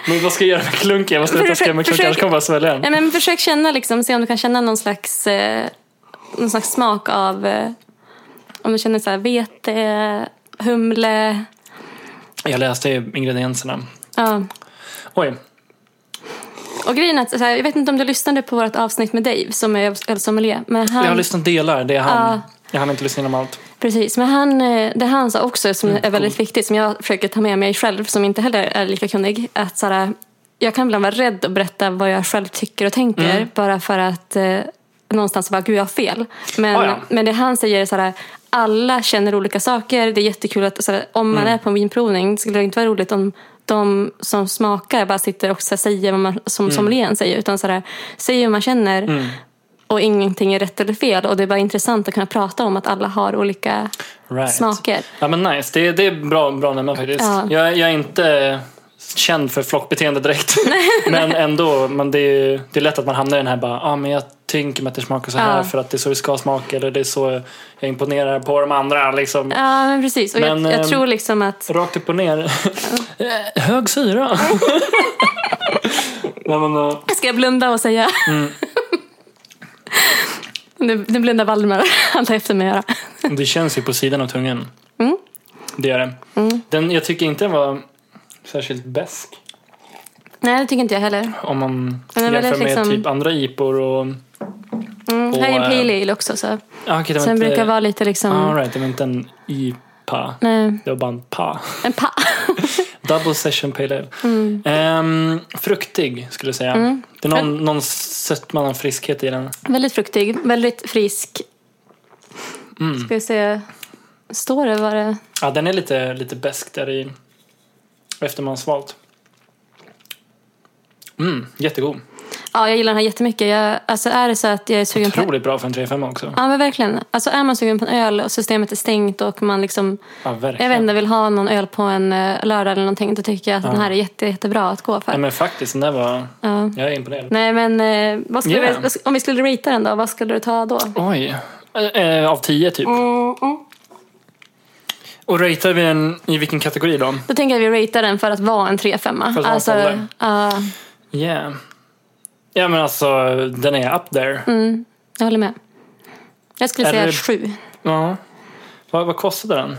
Men vad ska jag göra med klunken? Jag måste veta vad jag ska göra med klunken, Försök- annars kommer jag bara svälja den. Ja, men försök känna liksom, se om du kan känna någon slags, eh, någon slags smak av... Eh, om du känner så här vete, humle... Jag läste ju ingredienserna. Ja. Oj, Och grejen är att, så här, jag vet inte om du lyssnade på vårt avsnitt med Dave som är ölsommelier. Men han, jag har lyssnat delar. Det är han. Ja. Jag hann inte lyssna igenom allt. Precis, men han, eh, det han sa också som Mm, är väldigt viktigt som jag försöker ta med mig själv som inte heller är lika kunnig. Att så här, jag kan ibland vara rädd att berätta vad jag själv tycker och tänker Mm. bara för att eh, någonstans bara, gud jag har fel. Men, Ah, ja. men det han säger är så här, alla känner olika saker. Det är jättekul att så här, om Mm. man är på en vinprovning skulle det inte vara roligt om de som smakar bara sitter och så här, säger vad man, som Mm. sommelieren säger. Utan så här, säger hur man känner. Och ingenting är rätt eller fel. Och det är bara intressant att kunna prata om att alla har olika Right. smaker. Ja men nice, det, det är bra, bra nämna faktiskt. Ja. Jag, jag är inte känd för flockbeteende direkt. men ändå, men det, är ju, det är lätt att man hamnar i den här bara, ah, men jag tänker mig att det smakar så här Ja. för att det är så det ska smaka eller det är så jag imponerar på de andra. Liksom. Ja, men precis. Och Men, jag, ehm, jag tror liksom att... Rakt upp och ner. Eh, Hög syra. Nej, men, eh, Ska jag blunda och säga? Mm. nu, nu blundar Valdemar. Han tar efter mig att göra. Det känns ju på sidan av tungan. Mm. Det gör det. Den, jag tycker inte den var särskilt besk Nej, det tycker inte jag heller. om man Den är jämför med väldigt liksom- typ andra ipor och Mm, Och, här är en eh, pale ale också. Så. Ah, okej, det var Sen inte... brukar vara lite liksom... Ah, right, det var inte en IPA. Nej, Det var bara en PA. en pa. Double session pale ale. Mm. Ehm, fruktig skulle jag säga. Det är någon, någon sötma, någon friskhet i den. väldigt fruktig, väldigt frisk. Mm. Ska vi se. Står det vad det... Ja, den är lite, lite besk där i. Efter man har svalt. Mm, jättegod. Ja, jag gillar den här jättemycket. Jag, alltså är det så att jag är sugen på... Otroligt bra för en 3-5 också. Ja men verkligen. Alltså är man sugen på en öl och systemet är stängt och man liksom, Ja, jag verkligen. vet inte, vill ha någon öl på en eh, lördag eller någonting. Då tycker jag att den här är jätte, jättebra att gå Nej, för. men faktiskt, den där var... Ja. Jag är imponerad. Nej men eh, vad skulle Yeah. vi, vad sk- om vi skulle ratea den då, vad skulle du ta då? Oj. Eh, eh, av 10 typ. Mm, mm. Och ratear vi den i vilken kategori då? Då tänker jag att vi ratear den för att vara en 3-5. För att vara Alltså, en ja, Yeah. Ja men alltså, den är up there. mm, jag håller med. Jag skulle Är säga det- 7. Ja. Vad, vad kostade den?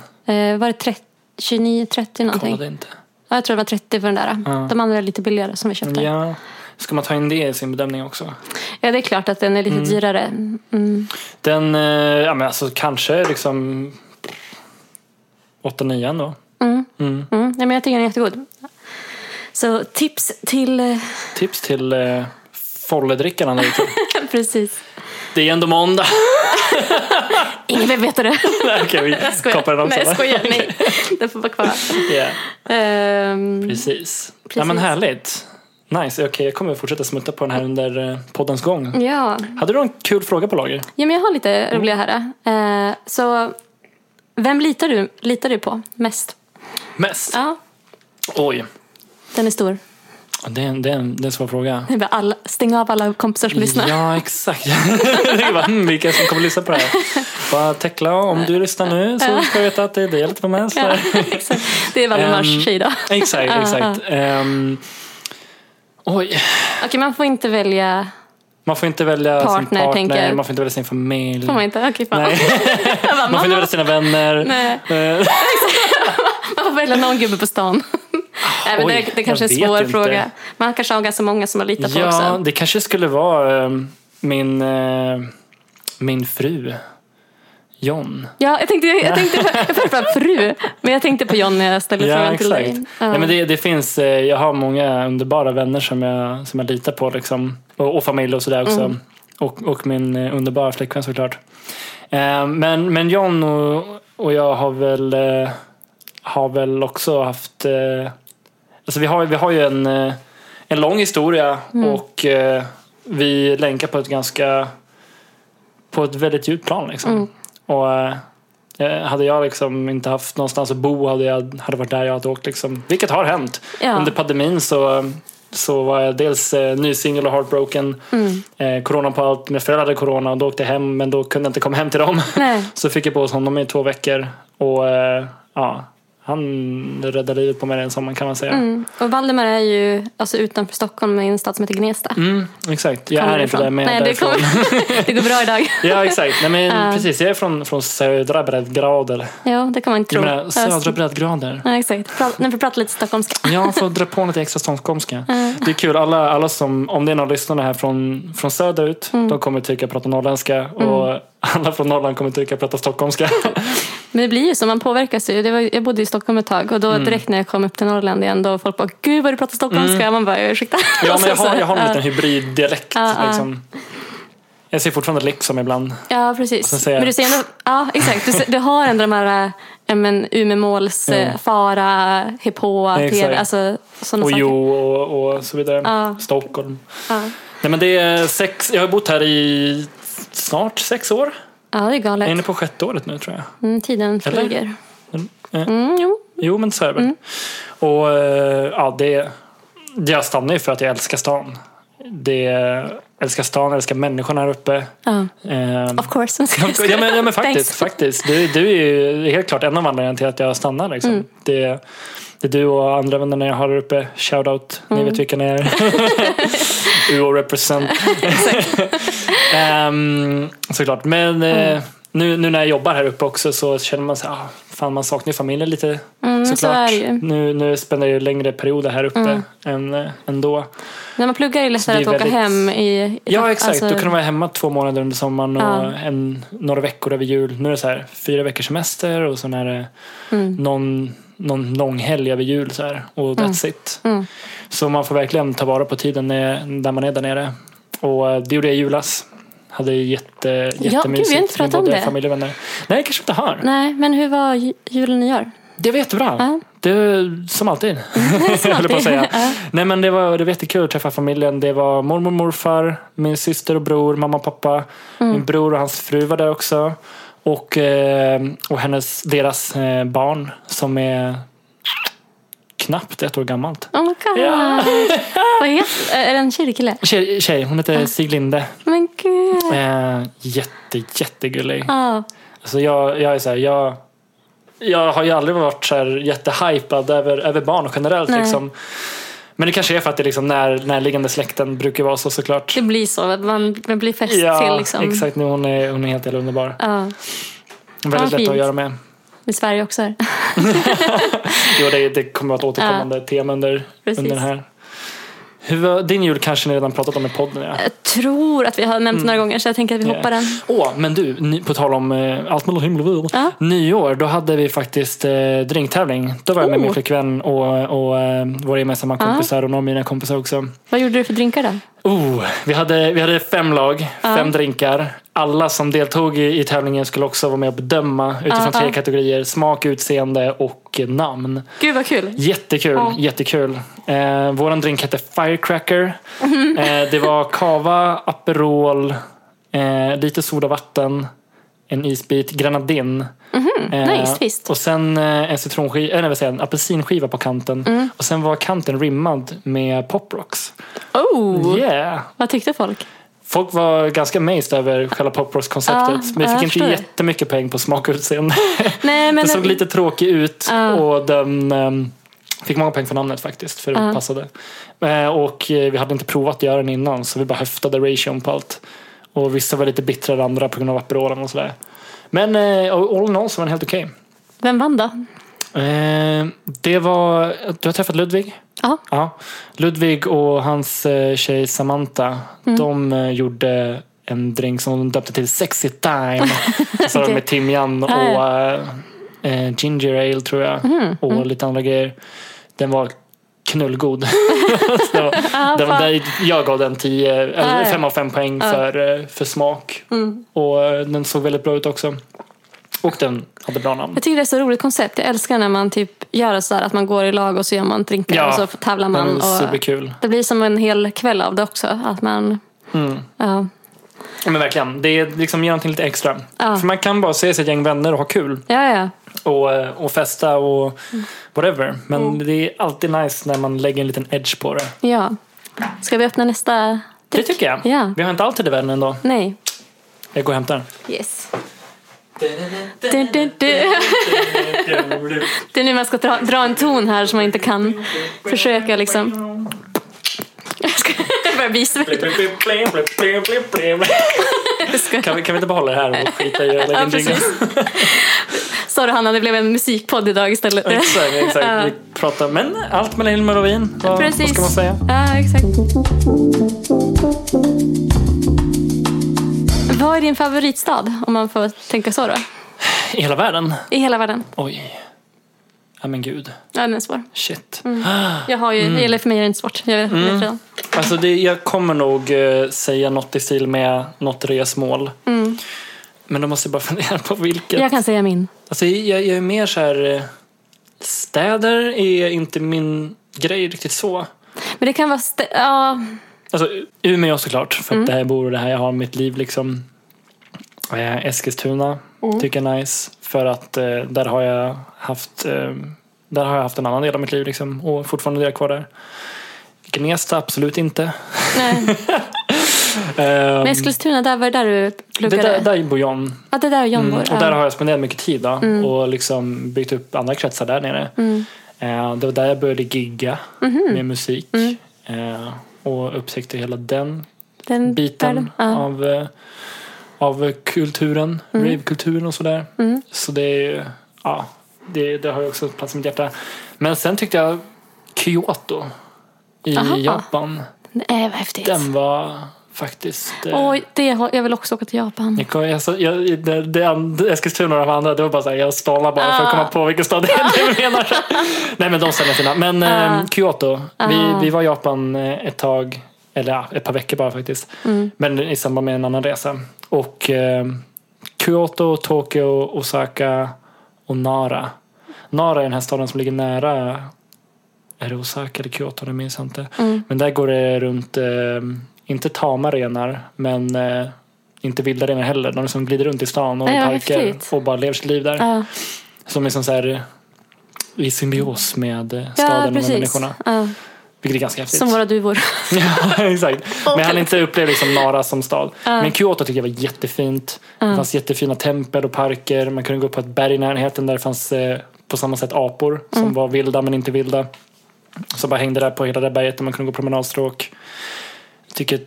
Eh, var det 30, 29, 30 någonting? Kollade inte. Ja, jag tror det var 30 för den där. Ja. De andra är lite billigare som vi köpte. Ja. Ska man ta in det i sin bedömning också? Ja, det är klart att den är lite dyrare. Mm. Den, eh, ja men alltså kanske liksom 8-9 då. Mm. Mm. Mm. Ja, men jag tycker den är jättegod. Så tips till... eh, Tips till eh, folledrickarna där ute. Precis. Det är ändå måndag. Ingen vill veta det. Där kan vi Jag skojar. kapa den också. Nej, jag va? skojar. Nej, den får vara kvar. Yeah. Ehm, Precis. Ja men Precis. härligt. Nice, okej jag kommer fortsätta smutta på den här under eh, poddens gång. ja. Hade du någon kul fråga på lager? ja, men jag har Mm. lite roliga här. Eh, så vem litar du, litar du på mest? Mest? Ja, Oj, den är stor. det är en, det är en, det är en svår fråga. Det är bara alla, stäng av alla kompisar som lyssnar. Ja, exakt. Det är bara, hmm, vilka som kommer lyssna på det här? Bara Tekla, om du lyssnar nu så ska du veta att det är det lite på mig. som Ja, är- exakt. Det är Valdemars Ehm, tjej då. Exakt, exakt. Ehm, oj, Okej, man får inte välja. man får inte välja sin Partner, tänker partner, jag. man får inte välja sin familj. Får man inte? Okej, fan. Nej. Jag bara, Man får mamma, inte välja sina vänner. Nej. Eh, man får välja någon gubbe på stan. Nej, men Ah, Oj, det, det kanske är jag en svår vet inte. fråga. Man kanske har ganska många som man litar på Ja, också. det kanske skulle vara eh, min, eh, min fru. John. Ja, jag tänkte, jag tänkte jag tänkte på fru, men jag tänkte på John när jag ställde Ja, frågan till exakt. dig. Ja. Nej, men det, det finns, eh, jag har många underbara vänner som jag, som jag litar på. Liksom. Och, och familj och sådär också. Mm. Och, och min eh, underbara flickvän såklart. Eh, Men, men John och, och jag har väl, eh, har väl också haft... eh, Alltså vi, har, vi har ju en, eh, en lång historia Mm. och eh, vi länkar på ett ganska... På ett väldigt djupt plan. Liksom. Mm. Och eh, eh, hade jag liksom inte haft någonstans att bo hade jag hade varit där jag hade åkt. Liksom. Vilket har hänt. Ja. Under pandemin så, så var jag dels eh, nysingel och heartbroken. Mm. Eh, corona på allt. Mina föräldrar hade corona och då åkte jag hem men då kunde jag inte komma hem till dem. Nej. Så fick jag på hos honom i två veckor. Och eh, ja, han räddade livet på mig den sommaren kan man säga. Mm. Och Valdemar är ju alltså, utanför Stockholm i en stad som heter Gnesta. Mm, exakt, jag Kommer är inte ifrån. där men jag Nej, är det, därifrån. kommer, det går bra idag. Ja exakt, Nej, men Ja. precis jag är från, från södra breddgrader. Ja, det kan man inte Jag tro. menar, södra breddgrader. Ja, exakt. Pra- Nu får vi prata lite stockholmska. Ja, får dra på lite extra stockholmska. Det är kul, alla, alla som, om det är någon lyssnare här från, från söderut, Mm. de kommer tycka att prata norrländska och alla från Norrland kommer tycka att prata stockholmska. Men det blir ju så, man påverkas ju. Det var, jag bodde i Stockholm ett tag och då Mm. direkt när jag kom upp till Norrland igen då var folk bara “Gud vad du pratar stockholmska” man bara “Ursäkta”. Mm. Ja, Och men så- jag har, jag har en ja. liten hybriddialekt. Ja, ja. Liksom. Jag ser fortfarande liksom ibland. Ja, precis. säger jag- Men du säger ändå, ja, exakt. Du, ser- du har ändå de här äh, ja, men, Umemåls, Ja. eh, fara, hippå, Exakt. tv, alltså sådana Och saker. jo och, och så vidare. Ja. Stockholm. Ja. Nej, men det är sex, jag har bott här i snart sex år. ja, det är Jag är galet. inne på sjätte året nu tror jag. Mm, tiden Eller? flyger. Eh, Mm, jo. Jo, men så är det Mm. väl. Och eh, ja, det, jag stannar ju för att jag älskar stan. Det, jag älskar stan, jag älskar människorna här uppe. Ja. Ehm, Of course. ja, men, ja, men faktiskt. Thanks. faktiskt. Du, du är ju helt klart en av anledningarna till att jag stannar. Liksom. Mm. Det, det är du och andra vännerna jag har där uppe. Shoutout, Mm. ni vet vilka ni är. Uo represent. Ehm, såklart. Men eh, Mm. nu, nu när jag jobbar här uppe också så känner man så här, ah, fan man saknar ju familjen lite. Mm, så är det ju. Mm. nu, nu spenderar jag ju längre perioder här uppe än, eh, än då. När man pluggar är det lättare Det är att åka väldigt- hem i... Ja exakt, alltså- då kunde man vara hemma två månader under sommaren och Ja. en, några veckor över jul. Nu är det så här fyra veckors semester och sen är det mm. någon, någon lång helg över jul så här, och that's it. Mm. Så man får verkligen ta vara på tiden när, när man är där nere. Och eh, det gjorde jag i julas. Hade jätte, gud, vi har jättemysigt inte pratat med om både det. familj och vänner. Nej, kanske inte har. Nej, men hur var ju- jul och nyår? Det var jättebra. Ja. Det, som alltid. jag höll på att säga. Nej, men det, var, det var jättekul att träffa familjen. Det var mormor och morfar, min syster och bror, mamma och pappa. Min bror och hans fru var där också. Och, eh, och hennes, deras eh, barn som är knappt ett år gammalt. Oh my god. Ja. Vad heter, är det en tjejkille? Tjej, tjej hon heter Stig Linde. Men gud. Eh, jätte, jättegullig. Ja. Alltså jag, jag är så här, jag, jag har ju aldrig varit så här jättehypad över, över barn generellt. Nej. Liksom. Men det kanske är för att det liksom när, närliggande släkten brukar vara så såklart. Det blir så. att Man, man blir fäst till liksom. exakt. Nu, hon, är, hon är helt jävla underbar. Ja. Väldigt lätt fint. att göra med. I Sverige också. här. Jo, det, det kommer att vara ett återkommande tema under, Precis. under den här. Hur var, din jul kanske ni redan pratat om i podden. Ja. Jag tror att vi har nämnt Mm. några gånger så jag tänker att vi hoppar den. Åh, men du, ny, på tal om eh, allt mellan himmel och jord. Ja. Nyår, då hade vi faktiskt eh, drinktävling. Då var jag med Oh. min flickvän och, och eh, våra gemensamma kompisar och några av mina kompisar också. Vad gjorde du för drinkar då? Oh, vi, hade, vi hade fem lag, fem drinkar. Alla som deltog i, i tävlingen skulle också vara med och bedöma utifrån Ja, tre ja. kategorier. Smak, utseende och eh, namn. Gud vad kul. Jättekul, Ja. jättekul. Eh, våran drink hette Firecracker. Mhm. Eh, det var kava, Aperol, eh, lite sodavatten, en isbit, grenadin. Eh, Mhm, nice, visst. Och sen eh, en citronskiva, eller vad säger, jag, en apelsinskiva på kanten. Mm. Och sen var kanten rimmad med poprocks. Oh, Yeah! vad tyckte folk? Folk var ganska amazed över själva poprocks-konceptet. Ja, men jag jag fick förstår. inte jättemycket poäng på smak och utseende. Nej, men Den såg lite tråkig ut Ja. och den ehm, fick många poäng för namnet faktiskt, för det passade. Eh, Och eh, vi hade inte provat att göra den innan så vi bara höftade ration på allt. Och vissa var lite bittrare än andra på grund av Aperolen och sådär. Men eh, all in all så var den helt okej. Vem vann då? Eh, Det var, du har träffat Ludvig? Ja. Ja. Ludvig och hans eh, tjej Samantha, Mm. de eh, gjorde en drink som de döpte till Sexy Time. Så hade de med timjan och Ja, Mm-hmm, eh, eh, ginger ale tror jag. Och lite andra grejer. Den var knullgod. Så det var, den var, där jag gav den 10, Ja, eller ja. 5 av 5 poäng för, eh, för smak. Mm. Och eh, den såg väldigt bra ut också. Och den hade bra namn. Jag tycker det är så roligt koncept. Jag älskar när man typ gör så här att man går i lag och så gör man drinkar Ja, och så tävlar man. Den var Och superkul. det blir som en hel kväll av det också. Att man, Mm. ja, Ja, men verkligen. Det liksom ger någonting lite extra. Ja. För man kan bara se sig ett gäng vänner och ha kul ja, ja. och, eh, och festa och whatever. Men Mm. det är alltid nice när man lägger en liten edge på det. ja. Ska vi öppna nästa? Det tycker jag. Ja. Vi har inte alltid i världen ändå. Nej. Jag går och hämtar. Yes. Du, du, du. Det är nu man ska dra, dra en ton här som man inte kan försöka liksom. Jag ska börja visa mig. Kan vi, kan vi inte behålla det här och skita i att lägga Ja, en jingle? precis. Sorry Hanna, det blev en musikpodd idag istället. Exakt, Ja. exakt. Vi pratar, men allt mellan himmel och vin. Vad, vad Precis. ska man säga? Ja, exakt. Vad är din favoritstad, om man får tänka så då? I hela världen? I hela världen? Oj. Ja men gud. Ja, den är svår. Shit. Jag har ju, Eller för mig är det inte svårt. Jag vet mm. redan. Alltså det, jag kommer nog eh, säga något i stil med något resmål. Men då måste jag bara fundera på vilket. Mm. Jag kan säga min. Alltså jag, jag är mer så här... eh, Städer är inte min grej riktigt så. Men det kan vara... St- ja, Alltså Umeå såklart, för att Mm. det här jag bor och det här jag har mitt liv liksom. Eh, Eskilstuna Mm. tycker jag är nice. För att eh, där har jag haft eh, där har jag haft en annan del av mitt liv liksom, och fortfarande är jag kvar där. Gnesta absolut inte. nej. Ehm, Men Eskilstuna, där var det där du Det pluggade? där, där bor John. Ja, det där är John Mm. bor. Och ja. Mm. där har jag spenderat mycket tid då, och liksom byggt upp andra kretsar där nere. Eh, det var där jag började gigga Mhm. med musik Mm. eh, och upptäckte hela den Den biten världen, Ja. Mm. av, eh, av kulturen, ravekulturen och sådär. Så det är ju- ja, det, det har ju också plats i mitt hjärta. Men sen tyckte jag Kyoto i Aha. Japan, Nej, vad häftigt. den var faktiskt... eh, Oj, det har, jag vill också åka till Japan. jag kom, alltså, jag, det, det, and- Eskilstuna och de andra, det var bara så här, jag stalade bara för Ah. att komma på vilken stad det är du menar. Nej men de ställena är fina. Men eh, Kyoto, vi, vi var i Japan eh, ett tag, eller ja, ett par veckor bara faktiskt. Mm. Men i samband med en annan resa. ehm, Och eh, Kyoto, Tokyo, Osaka och Nara. Nara är den här staden som ligger nära är det Osaka eller Kyoto, det minns jag inte. Mm. Men där går det runt, eh, inte tama renar, men eh, inte vilda renar heller. De som glider runt i stan och i Ja, parker häftigt. och bara lever sitt liv där. Ja, Som är som så här, eh, i symbios med eh, ja staden och med precis. människorna. Ja, Vilket är ganska häftigt. som våra duvor. ja, exakt. Men han inte upplevt liksom Nara som stad. Ja. Men Kyoto tycker jag var jättefint. Det Ja. fanns jättefina tempel och parker. Man kunde gå upp på ett berg i närheten där det fanns eh, på samma sätt apor som var vilda men inte vilda. Som bara hängde där på hela det där berget där man kunde gå promenadstråk. Jag tycker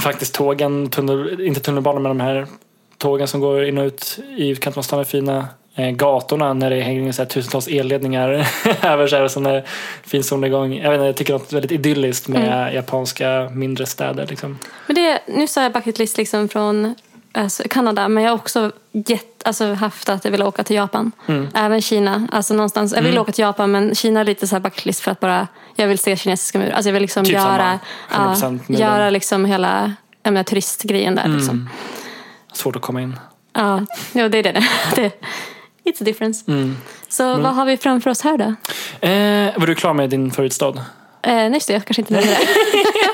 faktiskt tågen, tunnel, inte tunnelbanan men de här tågen som går in och ut i utkanten av stan är fina. Eh, gatorna när det hänger så här tusentals elledningar över sig och sån där fin solnedgång. Jag, vet inte, jag tycker något väldigt idylliskt med japanska mindre städer. Liksom. Men det, nu sa jag bucket list liksom från alltså, Kanada, men jag har också gett, alltså, haft att jag vill åka till Japan. Mm. Även Kina. Alltså, någonstans, jag vill åka till Japan, men Kina är lite så här bucket list för att bara, jag vill se kinesiska mur. Alltså, jag vill liksom Typ göra, samma, 100% ja, muren. göra liksom hela jag menar, turistgrejen Mm. där. Liksom. Svårt att komma in. Ja, jo, det är det. det it's a difference. Mm. Så vad har vi framför oss här då? Eh, var du klar med din förutstad? Eh, nej, just det, jag kanske inte nämnde det.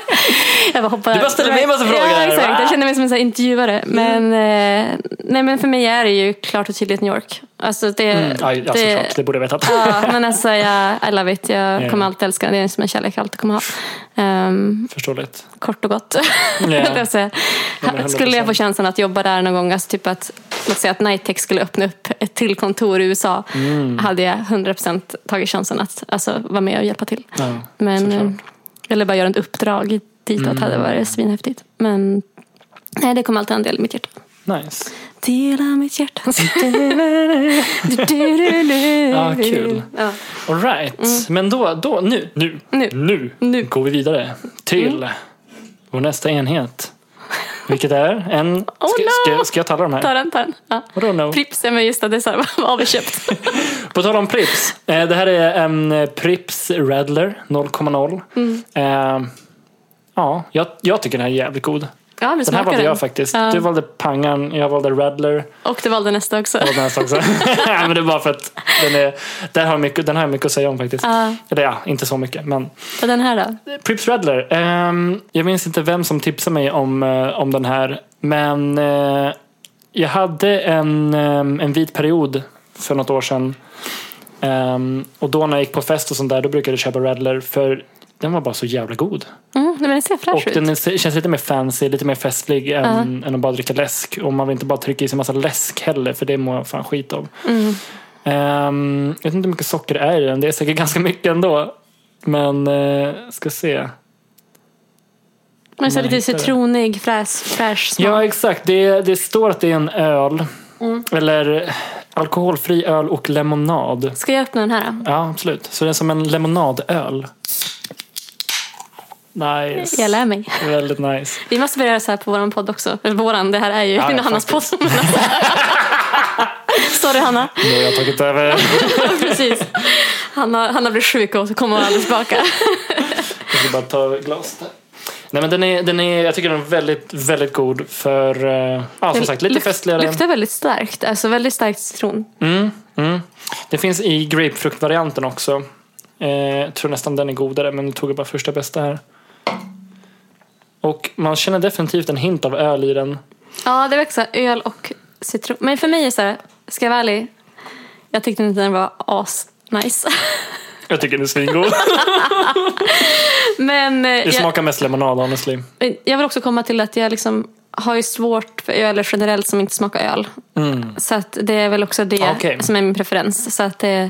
jag bara hoppade. Du bara ställer mig en massa frågor Ja, här, va? Mm. exakt. Jag känner mig som en sån här intervjuare. Men, eh, nej, men för mig är det ju klart och tydligt New York. Alltså det, Mm, Ja, ja såklart. Det borde jag vetat. ja, men alltså jag, I love it. Jag Ja. kommer alltid älska det. Det är som en kärlek jag alltid kommer ha. Ehm, Förståeligt. Eh, kort och gott. Ja. Det vill säga, Ja, men 100%. skulle jag få chansen att jobba där någon gång, alltså typ att, låt säga att Nitech skulle öppna upp ett till kontor i USA, Mm. hade jag 100% tagit chansen att alltså, vara med och hjälpa till. Ja, Men, såklart. Mm. eh, eller bara göra ett uppdrag ditåt hade varit svinhäftigt. Men nej, det kommer alltid ha en del i mitt hjärta. Nice. Dela mitt hjärta. Du, du, du, du. Ja, Ah, kul. Ja. All right. Men då, då nu, nu, Mm. Nu. Mm. nu, Nu. går vi vidare till vår nästa enhet. Vilket är en... Ska, ska, Oh, no! ska jag tala de här? Ta den, ta den. Ja. Vadå no? Pripps, ja, men just det, det är så här, vad har vi köpt? På tal om Prips. Eh, det här är en eh, Prips Radler 0,0. Mm. Eh, ja, jag, jag tycker den här är jävligt god. Ja, vi Den här smakar valde den. jag faktiskt. Ja. Du valde Pangan, jag valde Radler. Och du valde nästa också. på den här också. ja, men det är bara för att den, är, den, har mycket, den har jag mycket att säga om faktiskt. Ja. Eller ja, inte så mycket. Men Och den här då? Prips Radler. ehm, jag minns inte vem som tipsade mig om, eh, om den här. Men eh, jag hade en, ehm, en vit period för något år sedan. Ehm, och då när jag gick på fest och sånt där, då brukade jag köpa Radler. För den var bara så jävla god. Mm, nej, men den ser Och fräsch ut. den är- känns lite mer fancy, lite mer festlig än, än att bara dricka läsk. Och man vill inte bara trycka i sig en massa läsk heller, för det mår jag fan skit av. Mm. Ehm, jag vet inte hur mycket socker det är i den, det är säkert ganska mycket ändå. Men, eh, ska se. Men så Nej, lite inte det. citronig, fräsch, fräsch smak. Ja, exakt. Det, det står att det är en öl. Mm. Eller alkoholfri öl och lemonad. Ska jag öppna den här? då? Ja, absolut. Så det är som en lemonadöl. Nice. Jag lär mig. Väldigt nice. Vi måste börja göra så här på våran podd också. Eller våran, det här är ju Ja, ja, Hannas podd. Men alltså- Sorry Hanna. Nu har jag tagit över. Precis. Hanna, Hanna blir sjuk och så kommer hon aldrig tillbaka. Jag ska bara ta glas där. Nej, men den är, den är, jag tycker den är väldigt, väldigt god för, eh, ja som sagt, lite Lukt- festligare. Luktar väldigt starkt. Alltså väldigt starkt citron. Mm, mm. Det finns i grapefruktvarianten också. Eh, jag tror nästan den är godare, men nu tog jag bara första bästa här. Och man känner definitivt en hint av öl i den. Ja, det var också öl och citron. Men för mig är så här, ska jag vara ärlig. Jag tyckte inte den var as nice. Jag tycker den är svingod. Men eh, Det jag, smakar mest lemonad honestly. jag vill också komma till att jag liksom har ju svårt för öl generellt som inte smakar öl. Mm. Så att det är väl också det Okej. som är min preferens. Så att det,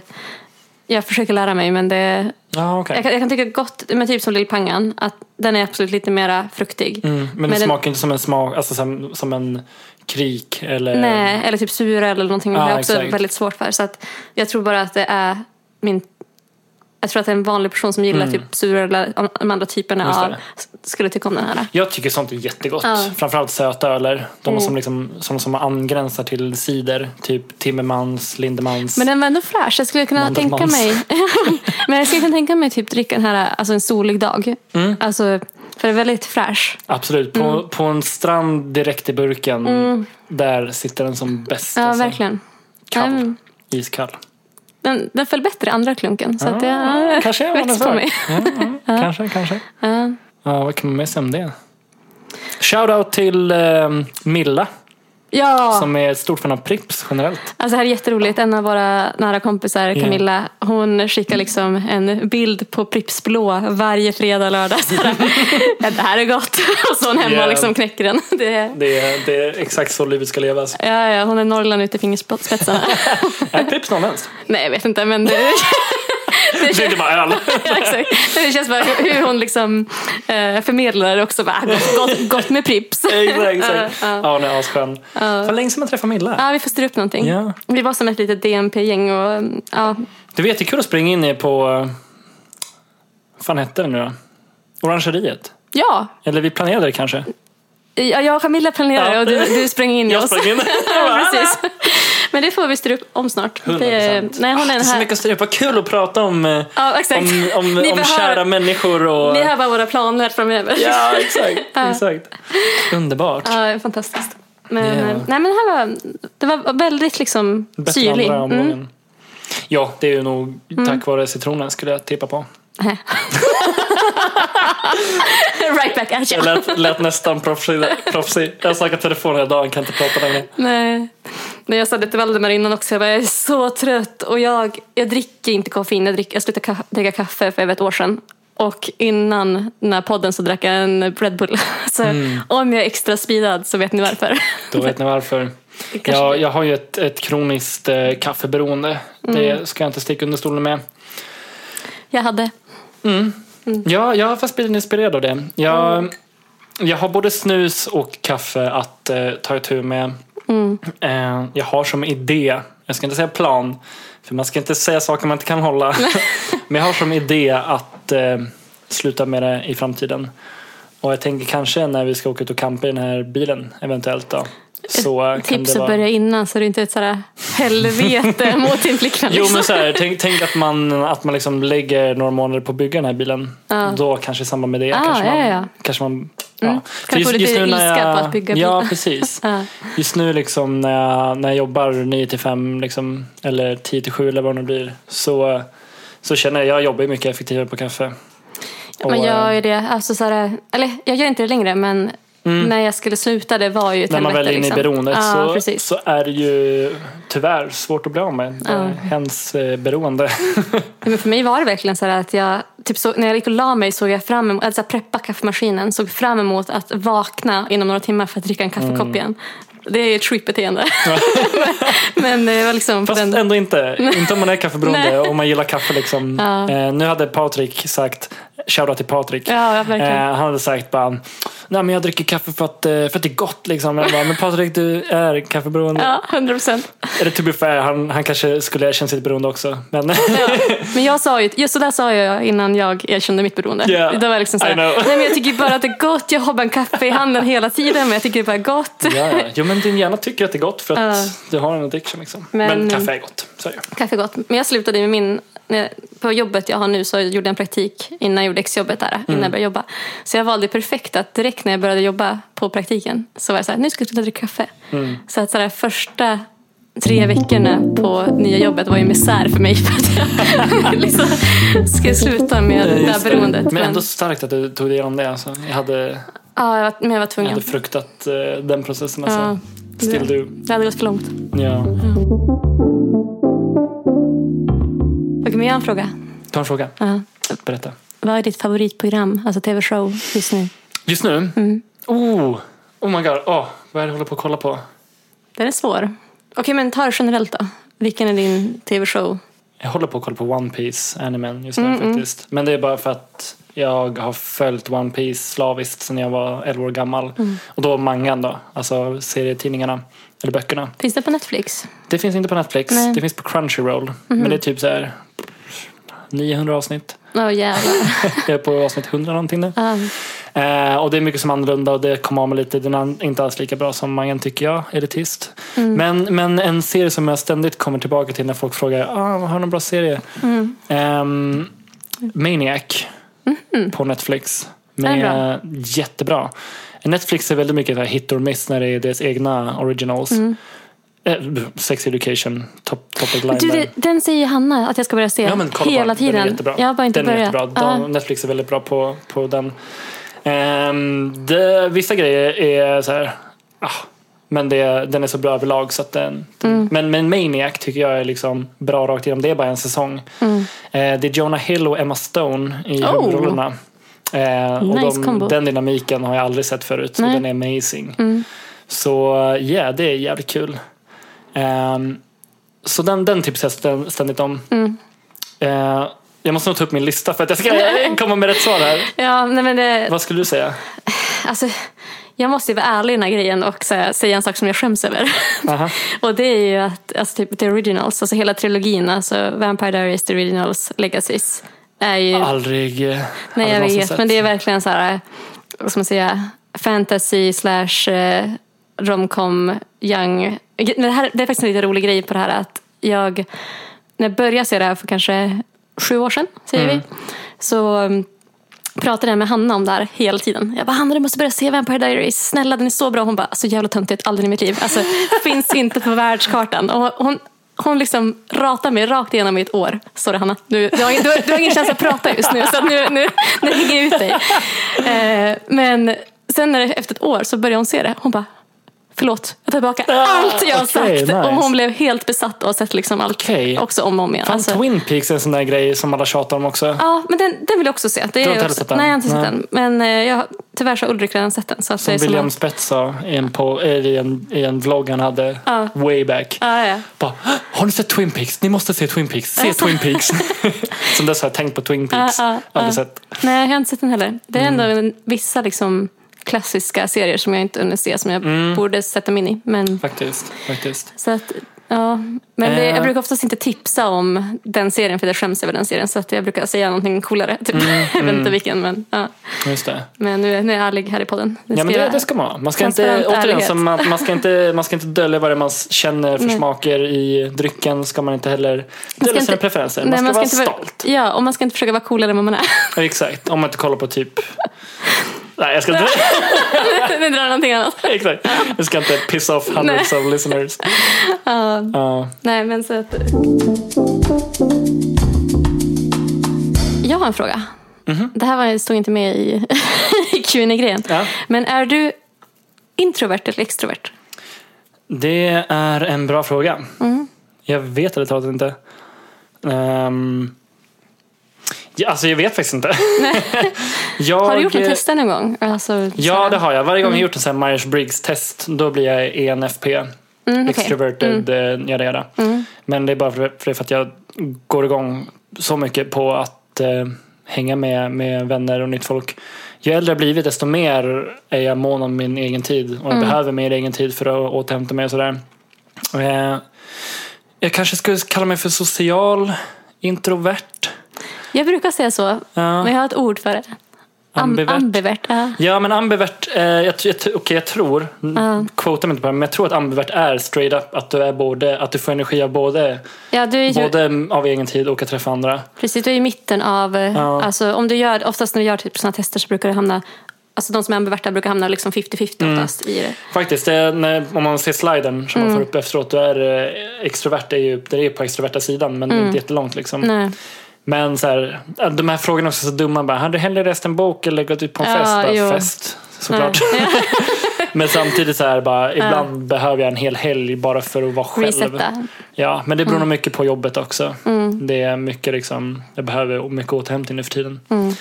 jag försöker lära mig men det, Ja, okej. jag, kan, jag kan tycka gott, men typ som lillpangan, att den är absolut lite mera fruktig. Mm, men, det den- smakar inte som en smak, alltså som, som en krik eller... Nej, eller typ sura eller någonting. Ja, det har jag också exakt. väldigt svårt för. Så att jag tror bara att det är min... Jag tror att en vanlig person som gillar typ sura eller de andra typerna Mm. Just det. av skulle tycka om den här. Jag tycker sånt är jättegott. Ja. Framförallt söta öler. De Mm. som, liksom, som, som angränsar till cider. Typ Timmermans, Lindemans. Men den var ändå fräsch. Jag skulle kunna Mandel tänka Mans. mig... men jag skulle kunna tänka mig typ dricka den här alltså en solig dag. Alltså, för det är väldigt fräsch. Absolut. På, Mm. på en strand direkt i burken. Där sitter den som bäst. Ja, alltså. verkligen. Kall. Mm. Iskall. Den, den föll bättre andra klunken. Så att det ja, Kanske jag växt på mig. Ja, ja. Kanske, kanske. Ja. Ja, vad kan man missa om det? Shoutout till eh, Milla Ja, som är ett stort fan av Prips generellt. alltså det här är jätteroligt. En av våra nära kompisar, Camilla, hon skickar liksom en bild på Pripps blå varje fredag och lördag. Så här, ja, det här är gott. Och så hon hemma Yeah. och liksom knäcker den. Det är, Det är, det är exakt så livet ska levas. ja, ja, hon är Norrland ut i fingerspetsarna. Är Prips norrländskt? Nej, jag vet inte, men det, Det är inte bara öl. Ja, exakt. Det känns bara hur hur hon liksom eh, förmedlar det också. Bara, gott, gott, gott med Pripps. Exakt, exakt. Ja, hon är asskön. För länge sedan man träffade Milla. Ja, vi får styra upp någonting. Ja. Vi var som ett litet DNP-gäng och mm, ja, Det var jättekul att springa in i på... eh, Vad fan hette det nu då? Orangeriet? ja, Eller vi planerade det kanske? ja jag och Camilla planerar Ja. och du, du sprang in i Jag oss. sprang in. Ja, precis. Men det får vi styra upp om snart. Det, är- 100%. nej, hon är Det är den så här. mycket att styra upp. Vad kul att prata om, eh, Ja, exakt. om, om, ni, om kära behöver, människor och... ni hör bara våra planer framöver. Ja, exakt. exakt. Underbart. Ja, fantastiskt. Men, Ja. eh, nej, men det, här var, det var väldigt liksom Bättre än syrlig. andra Mm. omgången. Ja, det är ju nog tack vare citronen skulle jag tippa på. Mm. Right back at you. Jag lät, lät nästan proffsig. proffsig. Jag har snackat telefon hela dagen, kan inte prata längre. Nej. Nej, jag sa det till Valdemar innan också, jag, bara, jag är så trött och jag, jag dricker inte koffein, jag, dricker, jag slutade ka- dricka kaffe för över ett år sedan. Och innan den här podden så drack jag en Red Bull. Så Mm. om jag är extra speedad så vet ni varför. Då vet ni varför. Det kanske Jag, blir- jag har ju ett, ett kroniskt eh, kaffeberoende. Mm. Det ska jag inte sticka under stolen med. Jag hade. Ja, jag har faktiskt blivit inspirerad av det. Jag, jag har både snus och kaffe att eh, ta itu med. Mm. Eh, jag har som idé, jag ska inte säga plan, för man ska inte säga saker man inte kan hålla. Men jag har som idé att eh, sluta med det i framtiden. Och jag tänker kanske när vi ska åka ut och campa i den här bilen eventuellt då. Så kan Tips det att vara... börja innan så det inte är ett sådär helvete mot din flickvän. Jo men liksom. så här, tänk, tänk att man, att man liksom lägger några månader på att bygga den här bilen. Då kanske i samband med det Ah, kanske, man, ja, ja. kanske man... Ja. För Kan få lite ilska på att bygga Ja, bilar. precis. Ja. Just nu liksom, när, jag, när jag jobbar 9 till 5 liksom, eller 10 till 7 eller vad det nu blir så, så känner jag jag jobbar ju mycket effektivare på kaffe. Man Och, eh, gör ju det, alltså så här, eller jag gör inte det längre men när jag skulle sluta det var ju ett Mm. när man helvete, väl är inne i liksom. beroendet ja, så, precis. så är det ju tyvärr svårt att bli av med. Ja. Hens eh, beroende. Nej, Men för mig var det verkligen så här att jag, typ så, när jag gick och la mig såg jag fram emot, alltså preppa kaffemaskinen, såg fram emot att vakna inom några timmar för att dricka en kaffekopp Mm. igen. Det är ju ett creepy-beteende. men, men det var liksom på Fast den, ändå inte. Inte om man är kaffeberoende och man gillar kaffe. Liksom. Ja. Eh, nu hade Patrik sagt, shoutout till Patrik. Ja, ja, verkligen. Eh, han hade sagt bara, nej men jag dricker kaffe för att, eh, för att det är gott. Liksom. Jag bara, men Patrik du är kaffeberoende. ja, 100 procent. Eller to be fair, han, han kanske skulle erkänna sitt beroende också. Men Men jag sa ju, just så där sa jag innan jag erkände mitt beroende. Yeah, det var liksom så I här, know. nej men jag tycker bara att det är gott, jag har bara en kaffe i handen hela tiden men jag tycker det bara är gott. ja, ja. Jo men din hjärna tycker att det är gott för att Ja. du har en addiction. Liksom. Men, Men- kaffe är gott. Så är det. Kaffe är gott. Men jag slutade med min... när jag- På jobbet jag har nu så gjorde jag en praktik innan jag gjorde exjobbet där. Innan jag började jobba. Så jag valde perfekt att direkt när jag började jobba på praktiken så var jag så här, nu ska jag sluta dricka kaffe. Så att så här, första tre veckorna på nya jobbet var ju misär för mig för att jag liksom skulle sluta med det här Just det. beroendet. Men ändå starkt att du tog dig igenom det. Alltså. Jag hade, ja, jag var, men jag var jag tvungen. hade fruktat eh, den processen. Alltså. Ja, Still det, do. det hade gått för långt. Ja. Okej, men jag har en fråga. Ta en fråga. Ja. Berätta. Vad är ditt favoritprogram, alltså tv-show just nu? Just nu? Oh, oh my god. Oh, vad är det jag håller på att kolla på? Den är svår. Okej, men ta det generellt då. Vilken är din tv-show? Jag håller på att kolla på One Piece animen just nu faktiskt. Men det är bara för att jag har följt One Piece slaviskt sedan jag var 11 år gammal. Mm. Och då mangan då, alltså serietidningarna. Eller böckerna. Finns det på Netflix? Det finns inte på Netflix, Nej. det finns på Crunchyroll. Men det är typ så här 900 avsnitt. Åh jävlar. Jag är på avsnitt 100 någonting nu. Ja. Eh, och det är mycket som är annorlunda och det kommer av med lite. Den är inte alls lika bra som mangan tycker jag, elitist. Mm. Men, men en serie som jag ständigt kommer tillbaka till när folk frågar ah, har du någon bra serie? Mm. Ehm, Maniac på Netflix. Mm. är Med, Mm. Jättebra. Netflix är väldigt mycket så här hit or miss när det är deras egna originals. Eh, sex Education, top, top of line Du, där. det- den säger ju Hanna att jag ska börja se Ja, men kolla hela på den. tiden. Den är jättebra. Jag har bara inte den är börjat. jättebra. De, Netflix är väldigt bra på, på den. Ehm, det, vissa grejer är så här, ah, men det, den är så bra överlag så att den, Mm. men, men Maniac tycker jag är liksom bra rakt igenom. Det är bara en säsong. Eh, det är Jonah Hill och Emma Stone i Mm. Oh. huvudrollerna. Eh, och Nice combo. de, den dynamiken har jag aldrig sett förut. Nej. Mm. Så den är amazing. Så ja, yeah, det är jävligt kul. Ehm, så den, den tipsar jag stä- ständigt om. Mm. Eh, jag måste nog ta upp min lista för att jag ska komma med rätt svar här. Ja, ja nej, men det, Vad skulle du säga? alltså, jag måste ju vara ärlig i den här grejen och säga, säga en sak som jag skäms över. Aha. och det är ju att alltså, typ, The Originals, alltså hela trilogin, alltså Vampire Diaries, The Originals, Legacies, är ju... Aldrig. eh, nej, aldrig jag någonsin vet, sett. men det är verkligen så här, eh, vad ska man säga, fantasy slash eh, romcom, young. Men det, här, det är faktiskt en lite rolig grej på det här att jag, när jag började se det här för kanske sju år sedan, säger Mm. vi, så mm, pratade jag med Hanna om det här hela tiden. Jag bara, Hanna du måste börja se Vampire Diaries, snälla den är så bra. Hon bara, så jävla töntigt, aldrig i mitt liv. Alltså, finns inte på världskartan. Och hon, hon liksom ratar mig rakt igenom i ett år. Sorry Hanna, nu, du, har, ingen- du, har- du har ingen chans att prata just nu så att nu, nu, nu hänger jag ut dig. Eh, men sen när det, efter ett år så började hon se det. Hon bara, förlåt, jag tar tillbaka allt jag har Ah, okej, sagt. nice. Och hon blev helt besatt och har sett liksom allt Okej. också om och om igen. Fan, Alltså- Twin Peaks är en sån där grej som alla tjatar om också. Ja, men den, den vill jag också se. Det har är inte också, sett den? Nej, jag har inte sett Nej. den. Men eh, jag, tyvärr så har Ulrik redan sett den. Så att det är som som William att- Spets sa i en, po- eller i, en, i en vlogg han hade Ja. way back. Ja, ja. Bara, "Hå, har ni sett Twin Peaks? Ni måste se Twin Peaks. Se Twin Peaks. Sen dess har jag tänkt på Twin Peaks. Ja, ja, Aldrig ja. sett. Nej, jag har inte sett den heller. Det är ändå Mm. en, vissa liksom, klassiska serier som jag inte hunnit se som jag Mm. borde sätta mig in i. Men, Faktiskt. Faktiskt. så att, ja. men det, Eh. jag brukar oftast inte tipsa om den serien för att jag skäms över den serien. Så att jag brukar säga någonting coolare. Typ. Mm, jag vet inte vilken, men, ja. Just det. men nu, är- nu är jag ärlig här i podden. Det Ja, men det, jag- det ska man ha. Man ska, inte, Transparent återigen, ärlighet. som man, man, ska inte, man ska inte dölja vad det är man känner för smaker i drycken. ska man inte heller dölja inte- sina preferenser. Man Nej, ska man vara ska inte vara- stolt. Ja, och man ska inte försöka vara coolare än vad man är. Ja, Exakt, om man inte kollar på typ... Nej, jag ska inte, nu drar jag någonting annat. exakt. Jag ska inte piss off hundreds of listeners. Ja. Nej, men så att... Jag har en fråga. Mhm. Det här var, stod inte med i, i Q&A-grejen. Ja. Men är du introvert eller extrovert? Det är en bra fråga. Mm. Jag vet det talat inte. Ehm, ja, alltså jag vet faktiskt inte. jag, eh, Har du gjort några tester någon gång? Alltså, Ja, det har jag. Varje gång jag gjort en sån här Myers-Briggs-test, då blir jag E ENFP. okej. Extroverted, mm. yada yada. Men det är bara för, för, det för att jag går igång så mycket på att eh, hänga med, med vänner och nytt folk. Ju äldre jag blivit, desto mer är jag mån om min egen tid. Och jag behöver mer egen tid för att återhämta mig och sådär. Eh, jag kanske skulle kalla mig för social introvert. Jag brukar säga så, Ja. men jag har ett ord för det. Am- Ambivert. ambivert ja. Ja, men ambivert, eh, jag, t- jag, t- okej, jag tror, mm. quota mig inte på det, men jag tror att ambivert är straight up att du, är både, att du får energi av både, ja du är ju, både av egen tid och att träffa andra. Precis, du är i mitten av... Ja. Alltså, om du gör, oftast när du gör typ sådana tester så brukar du hamna... Alltså de som är ambiverta brukar hamna liksom 50-50 Mm. oftast i det. Faktiskt, det är, när, om man ser sliden som Mm. man får upp efteråt, då är eh, extrovert är ju, det är ju på extroverta sidan, men det är inte jättelångt liksom. Mm. Nej. Men så här, att de här frågorna är också så dumma. Bara, hade du hellre läst en bok eller gått ut på en Ja, fest? Bara, jo. fest, såklart. men samtidigt så här, bara, ibland behöver jag en hel helg bara för att vara själv. Resetta. Ja, men det beror Mm. nog mycket på jobbet också. Det är mycket liksom, jag behöver mycket återhämtning nu för tiden. Mm.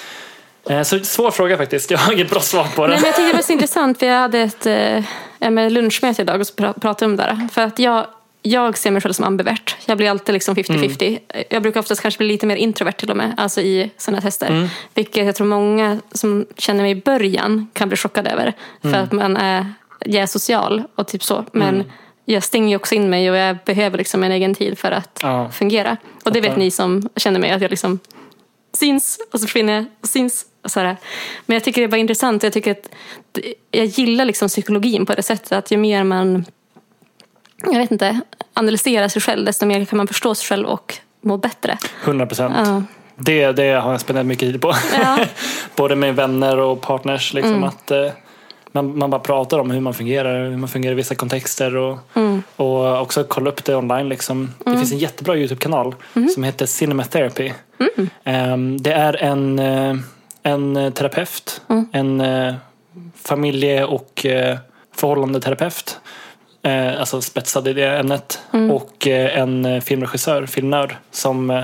Eh, Så svår fråga faktiskt. Jag har inget bra svar på Nej, den. men jag tyckte det var så intressant för jag hade ett eh, ja, men lunchmöte idag och så pra- pratade om det där. För att jag, jag ser mig själv som ambivert. Jag blir alltid liksom 50-50. Jag brukar oftast kanske bli lite mer introvert till och med, alltså i sådana tester. Vilket jag tror många som känner mig i början kan bli chockade över. För att man är, jag är social och typ så. Men jag stänger ju också in mig och jag behöver liksom en egen tid för att Ja. fungera. Och det vet Fattar. ni som känner mig, att jag liksom syns och så försvinner jag och syns. Och så här. Men jag tycker det är bara intressant. Jag, tycker att det- jag gillar liksom psykologin på det sättet att ju mer man jag vet inte, analyserar sig själv desto mer kan man förstå sig själv och må bättre. 100 procent. Ja. Det, det har jag spenderat mycket tid på. Ja. Mm. Både med vänner och partners. Liksom, att, eh, man, man bara pratar om hur man fungerar, hur man fungerar i vissa kontexter och, Mm. och också kolla upp det online. Liksom. Det finns en jättebra Youtube-kanal som heter Cinematherapy. Ehm, det är en, eh, en terapeut, en eh, familje och eh, förhållandeterapeut eh, alltså spetsad i det ämnet. Och eh, en eh, filmregissör, filmnörd, som eh,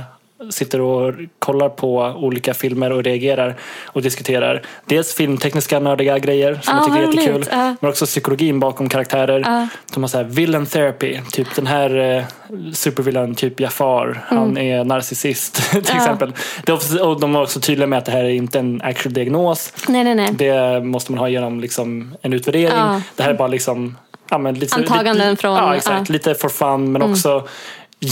sitter och kollar på olika filmer och reagerar och diskuterar. Dels filmtekniska nördiga grejer som Ah, jag tycker är vad roligt. jättekul. Ja. Men också psykologin bakom karaktärer. Ja. De har så här villain therapy, typ den här eh, supervillan, typ Jafar, han är narcissist till Mm. Ja. exempel. Det är också, och de är också tydliga med att det här är inte en actual diagnos. Nej, nej, nej. Det måste man ha genom liksom en utvärdering. Ja. Det här är bara liksom, ja, men lite, Antaganden lite, från- Ja, exakt. ja. Mm. Lite for fun men också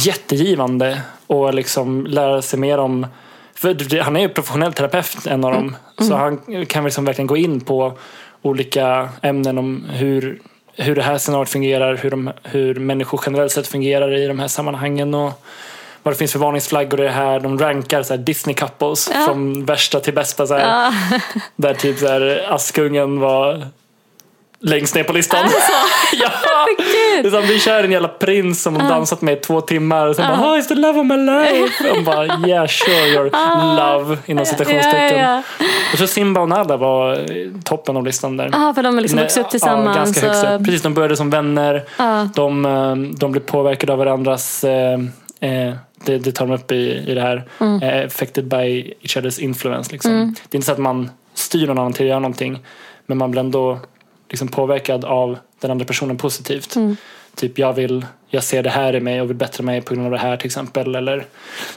jättegivande och liksom lära sig mer om för det- han är ju professionell terapeut, en av dem. Mm. Så han kan liksom verkligen gå in på olika ämnen om hur, hur det här scenariot fungerar, hur, de, hur människor generellt sett fungerar i de här sammanhangen och vad det finns för varningsflaggor i det här. De rankar så här Disney couples Ja. från värsta till bästa. Så här. Ja. Där typ så här, Askungen var längst ner på listan. ja. Det är som, vi kör en jävla prins som hon dansat med i två timmar och sen bara oh, it's the love of my life. Och bara yeah sure your love inom citationstecken. Ah. Ja, ja, Jag tror Simba och Nala var eh, toppen av listan där. ja. Ah, för de har liksom Nej, vuxit upp Ja, tillsammans. ganska högst och- upp. Precis, de började som vänner. Ja. De, eh, de blir påverkade av varandras, eh, eh, det, det tar de upp i, i det här, Mm. eh, affected by each other's influence. Liksom. Det är inte så att man styr någon annan till att göra någonting, men man blir ändå liksom påverkad av den andra personen positivt. Mm. Typ jag vill, jag ser det här i mig och vill bättra mig på grund av det här till exempel. Eller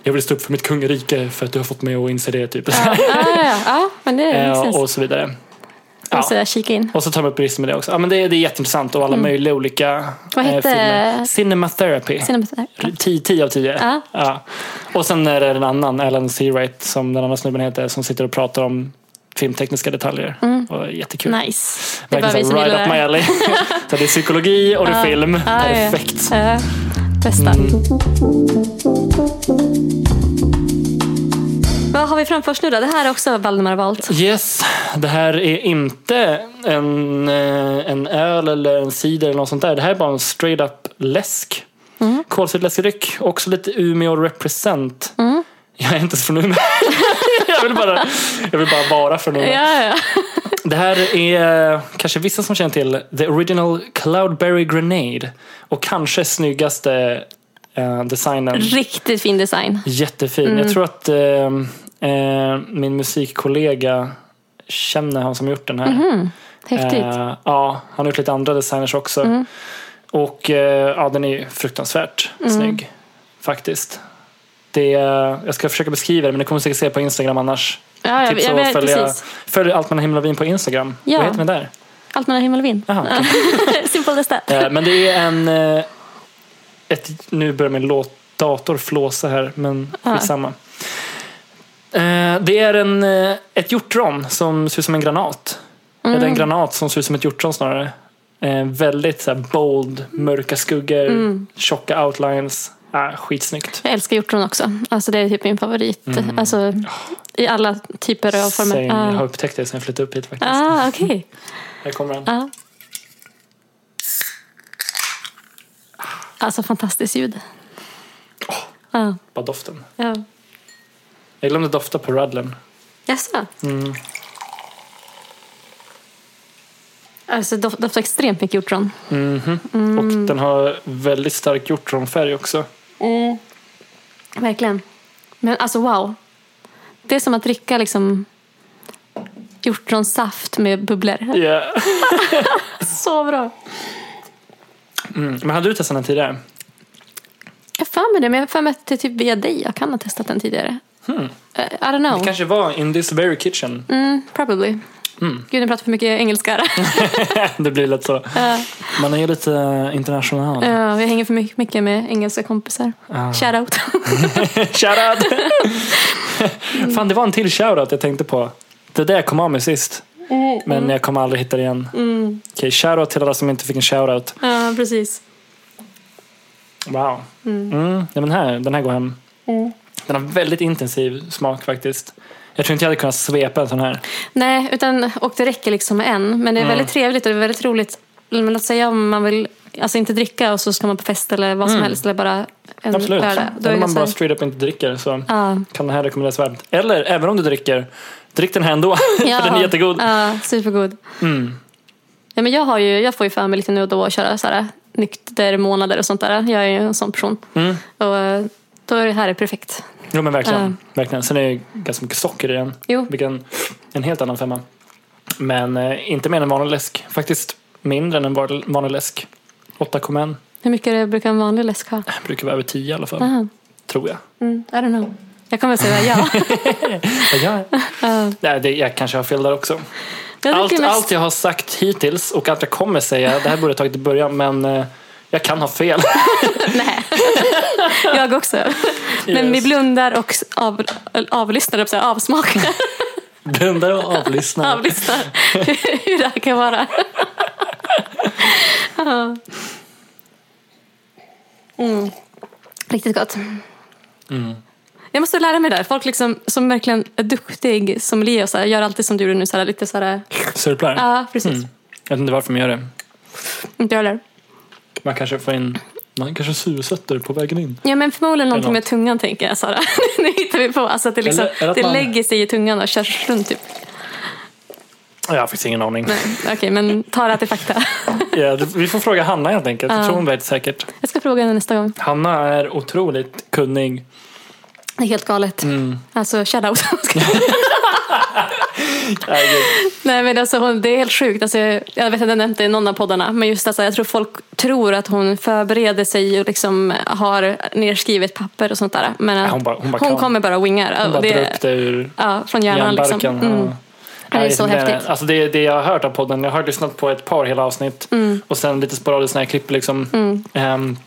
jag vill stå upp för mitt kungarike för att du har fått mig att inse det. Typ. Ja, ja, ja. ja, men det är Eh, precis. och så vidare. Jag måste kika in. Och så tar man upp brister med det också. Ja, men det, det är jätteintressant och alla möjliga olika Mm. Vad hette- filmer. Cinematherapy. Sen är det så här. 10 10 av 10. Ja. Ja. Och sen är det en annan, Alan Seawright, som den andra snubben heter, som sitter och pratar om filmtekniska detaljer. Och jättekul. Nice. Mm. Det är bara vi Verkligen som så här, right gillar up my det. alley. så det är psykologi och det är film. Ja, ja, ja. Perfekt. Mm. Ja. Bästa. Vad har vi framför oss nu då? Det här är också Valdemar valt. Yes, det här är inte en, eh, en öl eller en cider eller något sånt där. Det här är bara en straight up läsk. Mm. Kolsyrt läskedryck. Också lite Umeå represent. Mm. Jag är inte ens från Umeå. jag, vill bara, jag vill bara vara från Umeå. Ja, ja. Det här är eh, kanske vissa som känner till The Original Cloudberry Grenade. Och kanske snyggaste eh, designen. Riktigt fin design. Jättefin. Mm. Jag tror att eh, eh, min musikkollega känner han som gjort den här. Mm-hmm. Mhm. Häftigt. Mm. Eh, ja, han har gjort lite andra designers också. Och eh, ja, den är ju fruktansvärt Mm. snygg faktiskt. Det, är- jag ska försöka beskriva det men det kommer säkert se på Instagram annars. Ja, jag, Tips jag att vet följa, precis. följ allt man himla vin på Instagram. Ja. Vad heter den där? Allt mellan himmel och vind. Aha, okej. Simple as that. Eh, men det är en... eh, Ett, nu börjar min låt, dator flåsa här, men Ja. skitsamma. Eh, Det är en, eh, ett hjortron som ser ut som en granat. Eller Mm. en granat som ser ut som ett hjortron snarare. Eh, Väldigt så här bold, mörka skuggor, Mm. tjocka outlines. Ah, skitsnyggt. Jag älskar hjortron också. Alltså det är typ min favorit. Mm. Alltså, I alla typer av former. Sen, jag har Ja. upptäckt det sen jag flyttade upp hit faktiskt. Ah, okej. Här kommer den. Ja. Alltså fantastiskt ljud. Ja, Bara doften. ja. Jag glömde dofta på radlen. Jaså? Alltså doft, doftar extremt mycket hjortron. Mm. Och den har väldigt stark hjortronfärg också. Mm. Verkligen. Men alltså wow. Det är som att dricka liksom hjortronsaft med bubblor. Yeah. Så bra. Mm. Men hade du testat den tidigare? Jag har för mig det, men jag har för mig att det är typ via dig. Jag kan ha testat den tidigare. Eh, I don't know. Det kanske var In this very kitchen. Mm, Probably. Mm. Gud, nu pratar för mycket engelska här. Det blir lätt så. Man är ju lite international. Ja, Eh, jag hänger för mycket, mycket med engelska kompisar. Shoutout. Shoutout! Mm. Fan, det var en till shoutout jag tänkte på. Det där jag kom av med sist. Mm, Men jag kommer aldrig hitta det igen. Okej, shoutout till alla som inte fick en shoutout. ja, precis. Wow. Mm. Mm. Ja, men här, den här går hem. Den har väldigt intensiv smak faktiskt. Jag tror inte jag hade kunnat svepa en sån här. Nej, utan, och det räcker liksom med en. Men det är väldigt trevligt och det är väldigt roligt. Men låt säga om man vill alltså inte dricka och så ska man på fest eller vad som helst. Eller bara en Mm. Absolut. lördag. Då är det Om man så bara här, straight up inte dricker så ja, kan den här rekommenderas varmt. Eller även om du dricker, drick den här ändå. Ja, för den är jättegod. Ja, supergod. Mm. Ja, men jag, har ju, jag får ju för mig lite nu och då att köra så här, nykter månader och sånt där. Jag är ju en sån person. Mm. Och eh, då är det här är perfekt. Jo men verkligen. Ja. verkligen. Sen är det ju ganska mycket socker i den. Jo, Vilken en helt annan femma. Men eh, inte mer än vanlig läsk. Faktiskt mindre än en van- vanlig läsk. 8,1 hur mycket det brukar en vanlig läsk ha? brukar vara över 10 i alla fall. Aha. Tror jag. Mm, I don't know. Jag kommer att säga ja. Ja, jag, Ja. nej, det, jag kanske har fel där också. Jag Allt, dricker mest- allt jag har sagt hittills och allt jag kommer säga, det här borde jag tagit i början men eh, jag kan ha fel. Nej. jag också. Men vi Yes. blundar och av, avlyssnar, eller så här, avsmakar, Blundar och avlyssnar. avlyssnar hur det här kan vara. Ja. mm. Riktigt gott. Mm. Jag måste lära mig det där. Folk liksom, som verkligen är duktig som Leo, så här, gör alltid som du gjorde nu. Så här, lite så här, Surplar. ja, precis. Mm. Jag vet inte varför man gör det. Inte jag heller. Man kanske får in... Man kanske sursätter på vägen in. Ja, men förmodligen någonting något. med tungan tänker jag, Sara. nu hittar vi på. Alltså, att det liksom, Eller- eller att det man- lägger sig i tungan och körs runt typ. Jag har faktiskt ingen aning. Nej, Okej, men ta det till fakta. Ja, det- vi får fråga Hanna helt enkelt. Jag tror hon vet säkert. Jag ska fråga henne nästa gång. Hanna är otroligt kunnig. Det är helt galet. Mm. Alltså, shoutout. Nej, men alltså, hon, det är helt sjukt. Alltså, jag jag vet att jag nämnt det i någon av poddarna, men just alltså, jag tror folk tror att hon förbereder sig och liksom har nerskrivet papper och sånt där. Men att hon bara- hon bara kan. kommer bara och wingar. Hon bara det, drar upp det ur ja, från hjärnan liksom. järnbarken. Mm. Ja. Det är Nej, så häftigt. Alltså det, det jag har hört av podden, jag har lyssnat på ett par hela avsnitt Mm. och sen lite sporadiskt när jag klipper. Liksom. Ehm,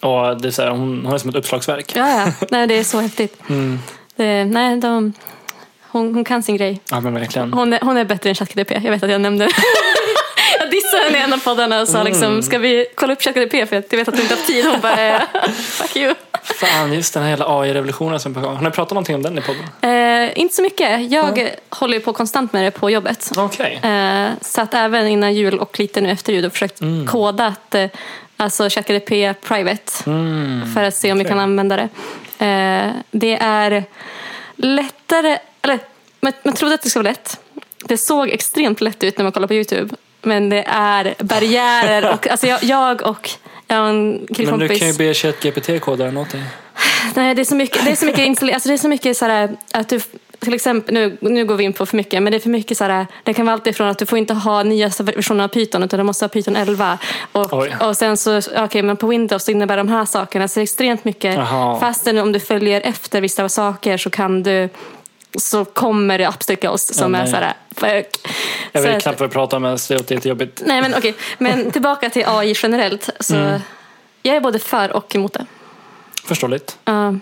och det är så här, hon, hon är som ett uppslagsverk. Ja, ja. Nej, det är så häftigt. Det, nej, de, hon, hon kan sin grej. Ja, men verkligen. Hon är, hon är bättre än ChatGPT. Jag vet att jag nämnde det. Jag dissade henne i en av poddarna och sa liksom, ska vi kolla upp ChatGPT för att jag vet att du inte har tid. Hon bara, eh, fuck you. Fan, just den här hela AI-revolutionen som är på gång. Har ni pratat någonting om den i podden? Eh, inte så mycket. Jag håller ju på konstant med det på jobbet. Okej. Eh, så att även innan jul och lite nu efter jul har försökt Mm. koda att eh, alltså ChatGPT private för att se om vi kan Mm. okej. använda det. Eh, det är lättare, eller man, man trodde att det skulle vara lätt. Det såg extremt lätt ut när man kollade på Youtube. Men det är barriärer och alltså jag, jag och en Men du killkompis. kan ju be ChatGPT koda den åt dig. Nej, det är så mycket, det är så mycket, install- alltså det är så mycket så här, att du till exempel, nu, nu går vi in på för mycket, men det är för mycket så här, det kan vara allt ifrån att du får inte ha nyaste versionen av Python utan du måste ha Python 11. Och, Oj. och sen så, okej, men på Windows så innebär de här sakerna så det är extremt mycket. Jaha. Fastän om du följer efter vissa saker så kan du så kommer det obstacles som Ja, är nej. så här, fuck. Jag Så vet att- knappt vad jag pratar om ens, det låter jättejobbigt. Nej men okej, men tillbaka till AI generellt. Så Mm. Jag är både för och emot det. Förståeligt. Ja.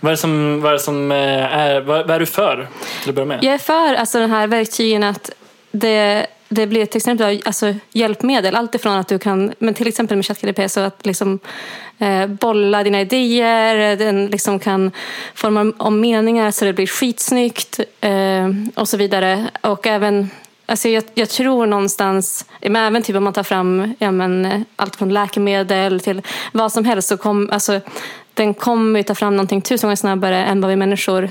Vad är det som, vad är, det som eh, är, vad, vad är du för? Till att börja med. Jag är för alltså, den här verktygen att det, det blir till exempel alltså, hjälpmedel. Allt ifrån att du kan, men till exempel med ChatGPT, så att liksom, eh, bolla dina idéer, den liksom kan forma om meningar så det blir skitsnyggt eh, och så vidare. Och även Alltså jag, jag tror någonstans, men även typ om man tar fram ja men, allt från läkemedel till vad som helst, så kom, alltså, den kommer ju ta fram någonting tusen gånger snabbare än vad vi människor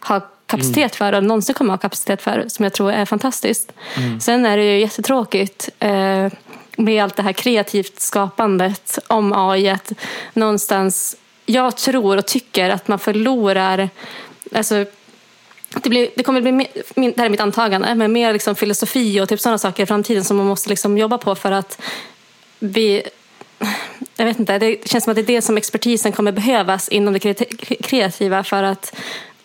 har kapacitet för och någonsin kommer ha kapacitet för som jag tror är fantastiskt. Sen är det ju jättetråkigt eh, med allt det här kreativt skapandet om AI att någonstans jag tror och tycker att man förlorar alltså, det, blir, det kommer bli, mer- min, det här är mitt antagande, men mer liksom filosofi och typ sådana saker i framtiden som man måste liksom jobba på för att vi jag vet inte, det känns som att det är det som expertisen kommer behövas inom det kreati- kreativa för att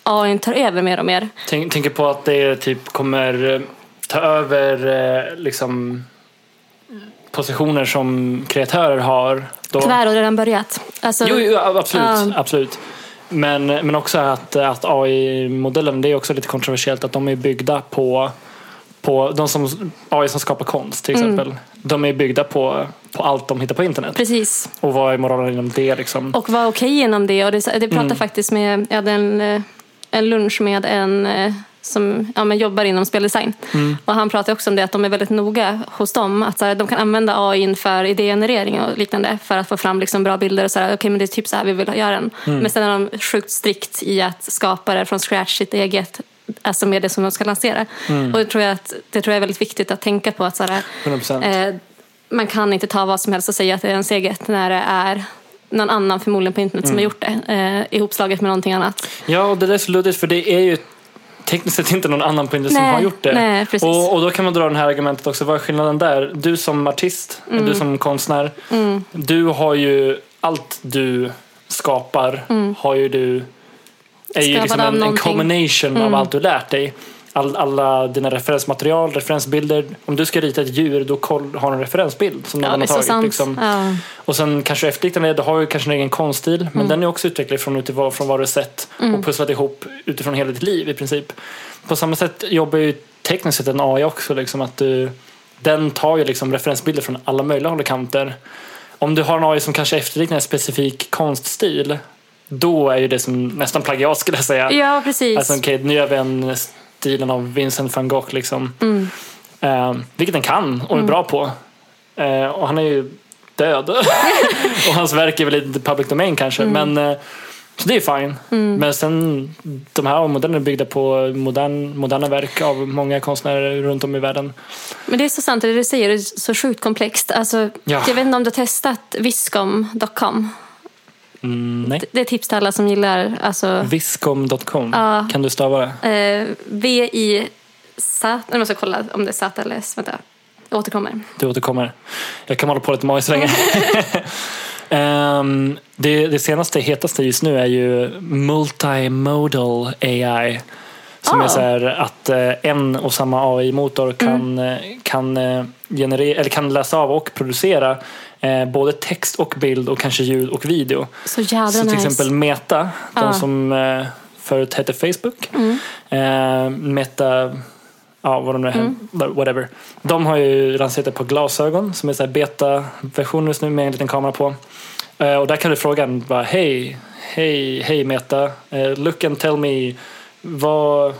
AI tar över mer och mer. Tänk, tänker på att det typ kommer eh, ta över eh, liksom, positioner som kreatörer har. Då. Tyvärr har det redan börjat. Alltså, Jo, jo, absolut. Ja. absolut. Men, men också att, att AI-modellen, det är också lite kontroversiellt att de är byggda på, på de som, AI som skapar konst Mm. till exempel. De är byggda på, på allt de hittar på internet. Precis. Och vad är moralen inom det liksom? Och vara okej inom det. Och det, det pratade faktiskt med, jag hade en eh, en lunch med en eh, som ja, men jobbar inom speldesign. Och han pratar också om det att de är väldigt noga hos dem. Att så här, de kan använda AI för idégenerering och liknande för att få fram liksom, bra bilder. och så här, okay, men Det är typ så här vi vill göra den. Men sen är de sjukt strikt i att skapa det från scratch, sitt eget alltså med det som de ska lansera. Och det tror, jag att, det tror jag är väldigt viktigt att tänka på. att så här, 100%. Eh, man kan inte ta vad som helst och säga att det är ens eget när det är någon annan förmodligen på internet Mm. som har gjort det eh, ihopslaget med någonting annat. Ja, och det där är så luddigt för det är ju tekniskt sett inte någon annan på industrin som Nej, har gjort det. nej, precis. och, och då kan man dra det här argumentet också, vad är skillnaden där? Du som artist, Mm. du som konstnär, du har ju allt du skapar har ju du är ju Skapad liksom Mm. av en, en någonting. Mm. combination av allt du lärt dig. All, alla dina referensmaterial, referensbilder. Om du ska rita ett djur, då koll, har du en referensbild som någon Ja, det är har så tagit. sant. liksom. Ja. Och sen kanske efterliknande, du har ju kanske en egen konststil men den är också utvecklad från, utifrån från vad du har sett och pusslat ihop utifrån hela ditt liv i princip. På samma sätt jobbar ju tekniskt sett en AI också, liksom, att du, den tar ju liksom referensbilder från alla möjliga håll och kanter. Om du har en AI som kanske efterliknar en specifik konststil då är ju det som nästan plagiat skulle jag säga. ja, precis. Alltså okej, nu gör vi en stilen av Vincent van Gogh liksom. Eh, vilket den kan och är bra på. Eh, och han är ju död. och hans verk är väl lite public domain kanske. Men, eh, så det är fine. Men sen, de här modellerna är byggda på modern, moderna verk av många konstnärer runt om i världen. Men det är så sant, det du säger det är så sjukt komplext. Alltså, Ja. Jag vet inte om du har testat viscom.com. Mm, nej. Det är tips till alla som gillar alltså, Viscom.com, Ja. kan du stava det? eh, V-I-Z. Jag måste kolla om det är Z eller S. Vänta, jag återkommer. Du återkommer. Jag kan hålla på lite magiskt länge. Ehm, det, det senaste hetaste just nu är ju multimodal AI. Som Ah. är så här att eh, en och samma AI-motor kan, eh, kan, eh, generera, eller kan läsa av och producera eh, både text och bild och kanske ljud och video. Så jävla Så till nice. exempel Meta, de Ja. Mm. som eh, förut hette Facebook. Eh, Meta, ja vad de nu Mm. heter, whatever. De har ju lanserat ett par glasögon som är så här beta-version just nu med en liten kamera på. Eh, och där kan du fråga den bara hej, hej, hej Meta, eh, look and tell me, vad,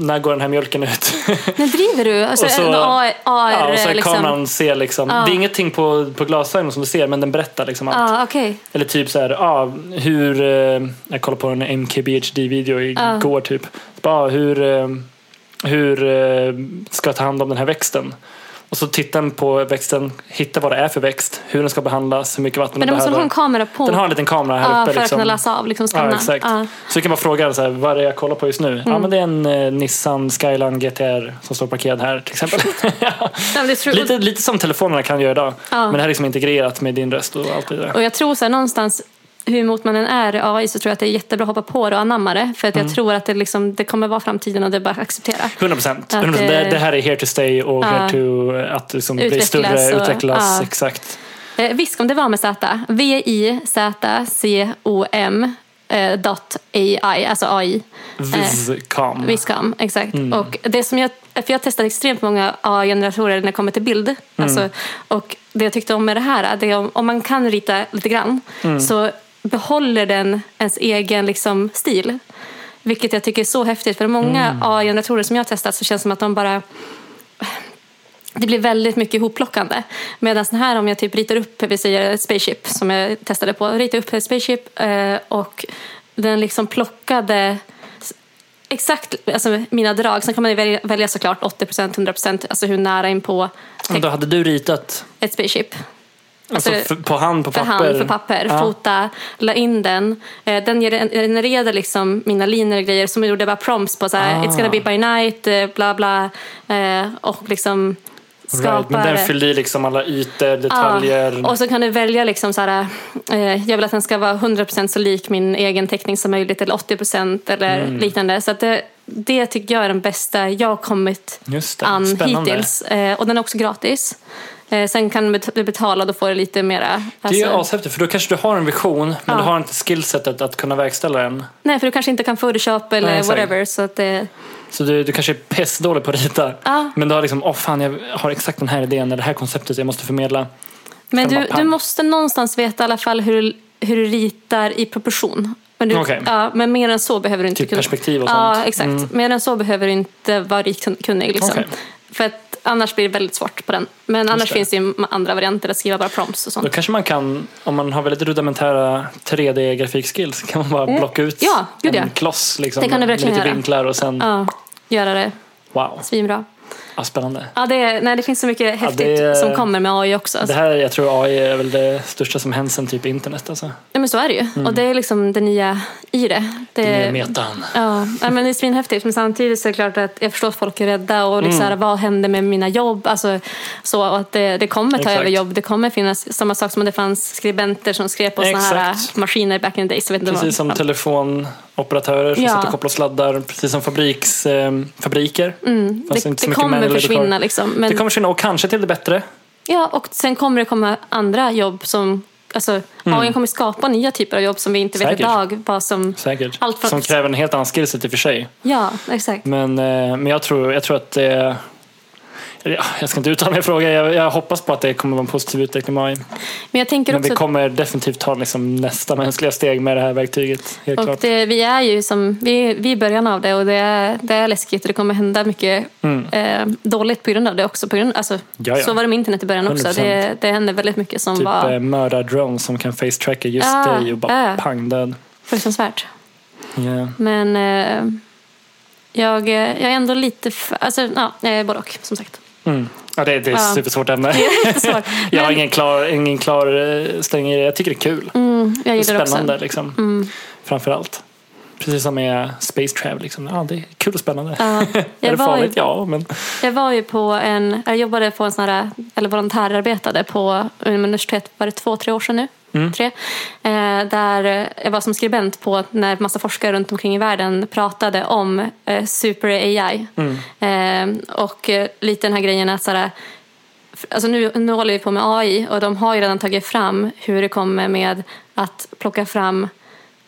när går den här mjölken ut? Men driver du? Alltså, Och så- en AR, ja, och så här, liksom. kameran ser liksom, det är ingenting på, på glasögonen som du ser men den berättar liksom allt. Ja, okej. Eller typ så här, ah, hur... Eh, jag kollade på en MKBHD-video Ah. igår typ. Bara, hur eh, hur eh, ska jag ta hand om den här växten? Och så tittar den på växten, hittar vad det är för växt, hur den ska behandlas, hur mycket vatten Men den då måste man behöver. ha en kamera på Den har en liten kamera Ja, här uppe. för att liksom. kunna läsa av, liksom skanna. Ja, exakt. Ja. Så du kan bara fråga den så här, vad är det jag kollar på just nu? Mm. Ja, men det är en eh, Nissan Skyline GTR som står parkerad här till exempel. Ja, men det tror, lite, lite som telefonerna kan göra idag. Ja. Men det här är liksom integrerat med din röst och allt det där. Och jag tror så här, någonstans hur emot man än är AI så tror jag att det är jättebra att hoppa på det och anamma det. För Mm. att jag tror att det, liksom, det kommer vara framtiden och det är bara att acceptera. 100 procent. Att, Det, eh, det här är here to stay och here ja. to eh, att liksom bli Utvecklas större, och- utvecklas. ja. Exakt. Eh, Viskom, det var med Z. V-I-Z-C-O-M eh, dot AI, alltså AI. Viscom. Viscom, exakt. Och det som jag, för jag har testat extremt många AI-generatorer när det kommer till bild. Alltså, och det jag tyckte om med det här, det är om, om man kan rita lite grann så behåller den ens egen liksom, stil. Vilket jag tycker är så häftigt. För många AI-generatorer som jag har testat så känns det som att de bara det blir väldigt mycket ihopplockande. Medan den här om jag typ ritar upp, vi säger ett spaceship som jag testade på, ritar upp ett spaceship eh, och den liksom plockade s- exakt alltså, mina drag. Sen kan man ju välja, välja såklart 80%, 100%, alltså hur nära in på Men Då hade du ritat ett spaceship. alltså, Alltså, f- på hand på för papper? hand, för papper, Ja. fota, la in den. Eh, Den gener- genererade liksom mina linjer och grejer som gjorde bara prompts på så här, Ah. it's gonna be by night, eh, bla bla. eh, Och liksom skapade... Right. Men den fyllde i liksom alla ytor, detaljer. Ja, och så kan du välja liksom så här, eh, jag vill att den ska vara 100% så lik min egen teckning som möjligt eller 80% eller Mm. liknande. Så att det, det tycker jag är den bästa jag har kommit Just det, an Mm. spännande. hittills. Eh, och den är också gratis. Eh, sen kan du bet- du betala och då får du lite mera. Det är ju alltså- ashäftigt för då kanske du har en vision men du har inte skillsetet att kunna verkställa den. nej, för du kanske inte kan photoshop eller Nej, exakt. whatever. Så att det, Så du, du kanske är pissdålig på att rita Ja. men du har liksom, åh fan jag har exakt den här idén eller det här konceptet jag måste förmedla. men Sen du, bara pang. du måste någonstans veta i alla fall hur, du- hur du ritar i proportion. Men, du, Okej. ja, men mer än så behöver du inte Typ perspektiv och Ja, sånt. Mm. exakt. Mer än så behöver du inte vara rikkunnig. Liksom. Okej. För att annars blir det väldigt svårt på den. Men annars det. finns det ju andra varianter att skriva bara prompts och sånt. Då kanske man kan, om man har väldigt rudimentära 3D-grafikskills, kan man bara blocka ut Mm. Ja, gud ja. en kloss liksom, Det kan du med verkligen lite göra. vinklar och sen, Ja, göra det wow, svinbra. ja, spännande. Ja, det, är- nej, det finns så mycket häftigt det är- som kommer med AI också. alltså. Det här, jag tror AI är väl det största som hänt sen typ internet alltså. Ja, men så är det ju. Och det är liksom det nya i det. Det, Det är metan. Eh, Ja, nej, men det är svinhäftigt. Men samtidigt så är det klart att jag förstår att folk är rädda. Och liksom, Mm. så här, vad händer med mina jobb? Alltså, så och att det, det kommer ta Exakt. över jobb. Det kommer finnas samma sak som att det fanns skribenter som skrev på såna här Exakt. äh, maskiner back in the days. Jag vet inte vad- Precis som ja. telefonoperatörer som Ja. satt och kopplade sladdar, precis som fabriks, eh, fabriker. Mm. det, det kommer försvinna. Liksom. Men, Det kommer försvinna och kanske till det bättre. Ja, och sen kommer det komma andra jobb som... Alltså, AI kommer skapa nya typer av jobb som vi inte vet Mm. Säkert. idag. Vad som, Säkert. Allt för- Som kräver en helt annan skillset i och för sig. ja, exakt. Men, eh, men jag, tror, jag tror att det eller, ja, jag ska inte uttala mig i frågan. Jag, jag hoppas på att det kommer vara en positiv utveckling med AI. Men jag tänker Men vi också... kommer definitivt ta liksom nästa mänskliga steg med det här verktyget. Helt Och klart. det, vi är ju som, vi, vi är i början av det och det är, det är läskigt och det kommer hända mycket eh, dåligt på grund av det också. På grund, alltså, Mm. Ja, ja. Så var det med internet i början också. 100%. Det, det hände väldigt mycket som Typ var eh, mörda-drones som kan face-tracka just Ah, dig och bara ah. pang död. fruktansvärt. Yeah. Men eh, jag, eh, jag är ändå lite, för, alltså ja, jag är både och som sagt. Mm. Ja, det, det är ett Ja. supersvårt ämne. Svårt. Jag har Men ingen klar, ingen klar eh, släng i det. Jag tycker det är kul. jag Det gillar är Mm, det också. Mm. spännande liksom. Framför allt. Precis som med space travel. Liksom. Ja, det är kul och spännande. Ja, är jag, det var farligt? ju, Ja, men jag var ju på en, jag jobbade på en sån här, eller volontärarbetade på universitet, var det två, tre år sedan nu? Tre. Eh, där jag var som skribent på när massa forskare runt omkring i världen pratade om eh, super AI. Eh, och eh, lite den här grejen att så här, Alltså nu, nu håller vi på med AI och de har ju redan tagit fram hur det kommer med att plocka fram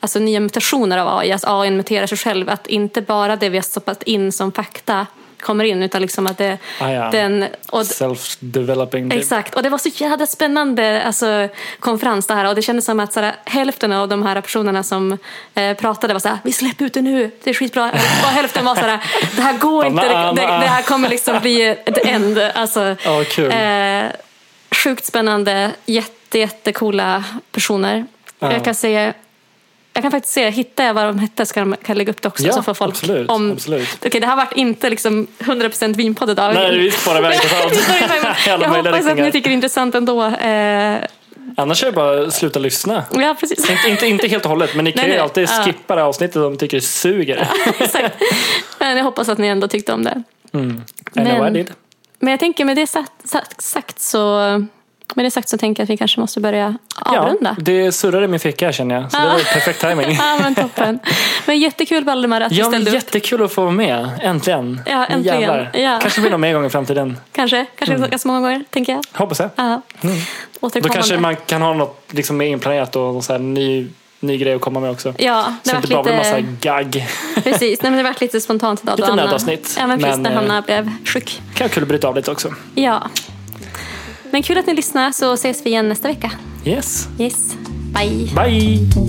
alltså nya mutationer av AI, att AI muterar sig själv, att inte bara det vi har stoppat in som fakta kommer in utan liksom att det, Ah, ja. den, och, self-developing. typ. Exakt, och det var så jävla spännande alltså, konferens det här och det kändes som att så här, hälften av de här personerna som eh, pratade var så här, vi släpper ut det nu, det är skitbra. Och hälften var så här, det här går inte, det, det, det här kommer liksom bli the end. Alltså, Ja, vad kul. eh, sjukt spännande, jätte, jättecoola personer. Ja. Jag kan säga jag kan faktiskt se, hittar jag vad de hette så kan, de- kan jag lägga upp det också. Ja, så får folk absolut, om... absolut. Okej, det här vart inte liksom 100% vinpodd idag. Nej, det är visst bara väldigt Vi intressant. tar in mig, men Alla Jag möjliga hoppas att ni riktningar. tycker det är intressant ändå. Eh, Annars är det bara att sluta lyssna. ja, precis. Inte, inte, inte helt och hållet, men ni kan Nej, ju nej. alltid Ja. skippa det här avsnittet om ni tycker det suger. Exakt. Men jag hoppas att ni ändå tyckte om det. I know I Men- did. Men jag tänker med det sagt, sagt, sagt så med det sagt så tänker jag att vi kanske måste börja avrunda. Ja. det surrar i min ficka här, känner jag. Så det var ju perfekt timing. men toppen. Men jättekul Valdemar att du Ja, men ställde upp. jättekul att få vara med. Äntligen. Ja, Nu äntligen. jävlar. Ja. Kanske blir det någon mer gång i framtiden. Kanske, kanske Mm. ganska många gånger tänker jag. Hoppas jag. Ja. Mm. Då Återkommande. kanske man kan ha något liksom mer inplanerat och någon så här ny, ny grej att komma med också. Ja, det så har det inte bara blir varit massa lite, gagg. precis. Nej, men det har varit lite spontant idag. då Lite Anna- nödavsnitt, Ja, men precis. men, när eh, Hanna blev sjuk. Kan vara kul att bryta av lite också. Ja. Men kul att ni lyssnar så ses vi igen nästa vecka. Yes, Yes. Bye. bye!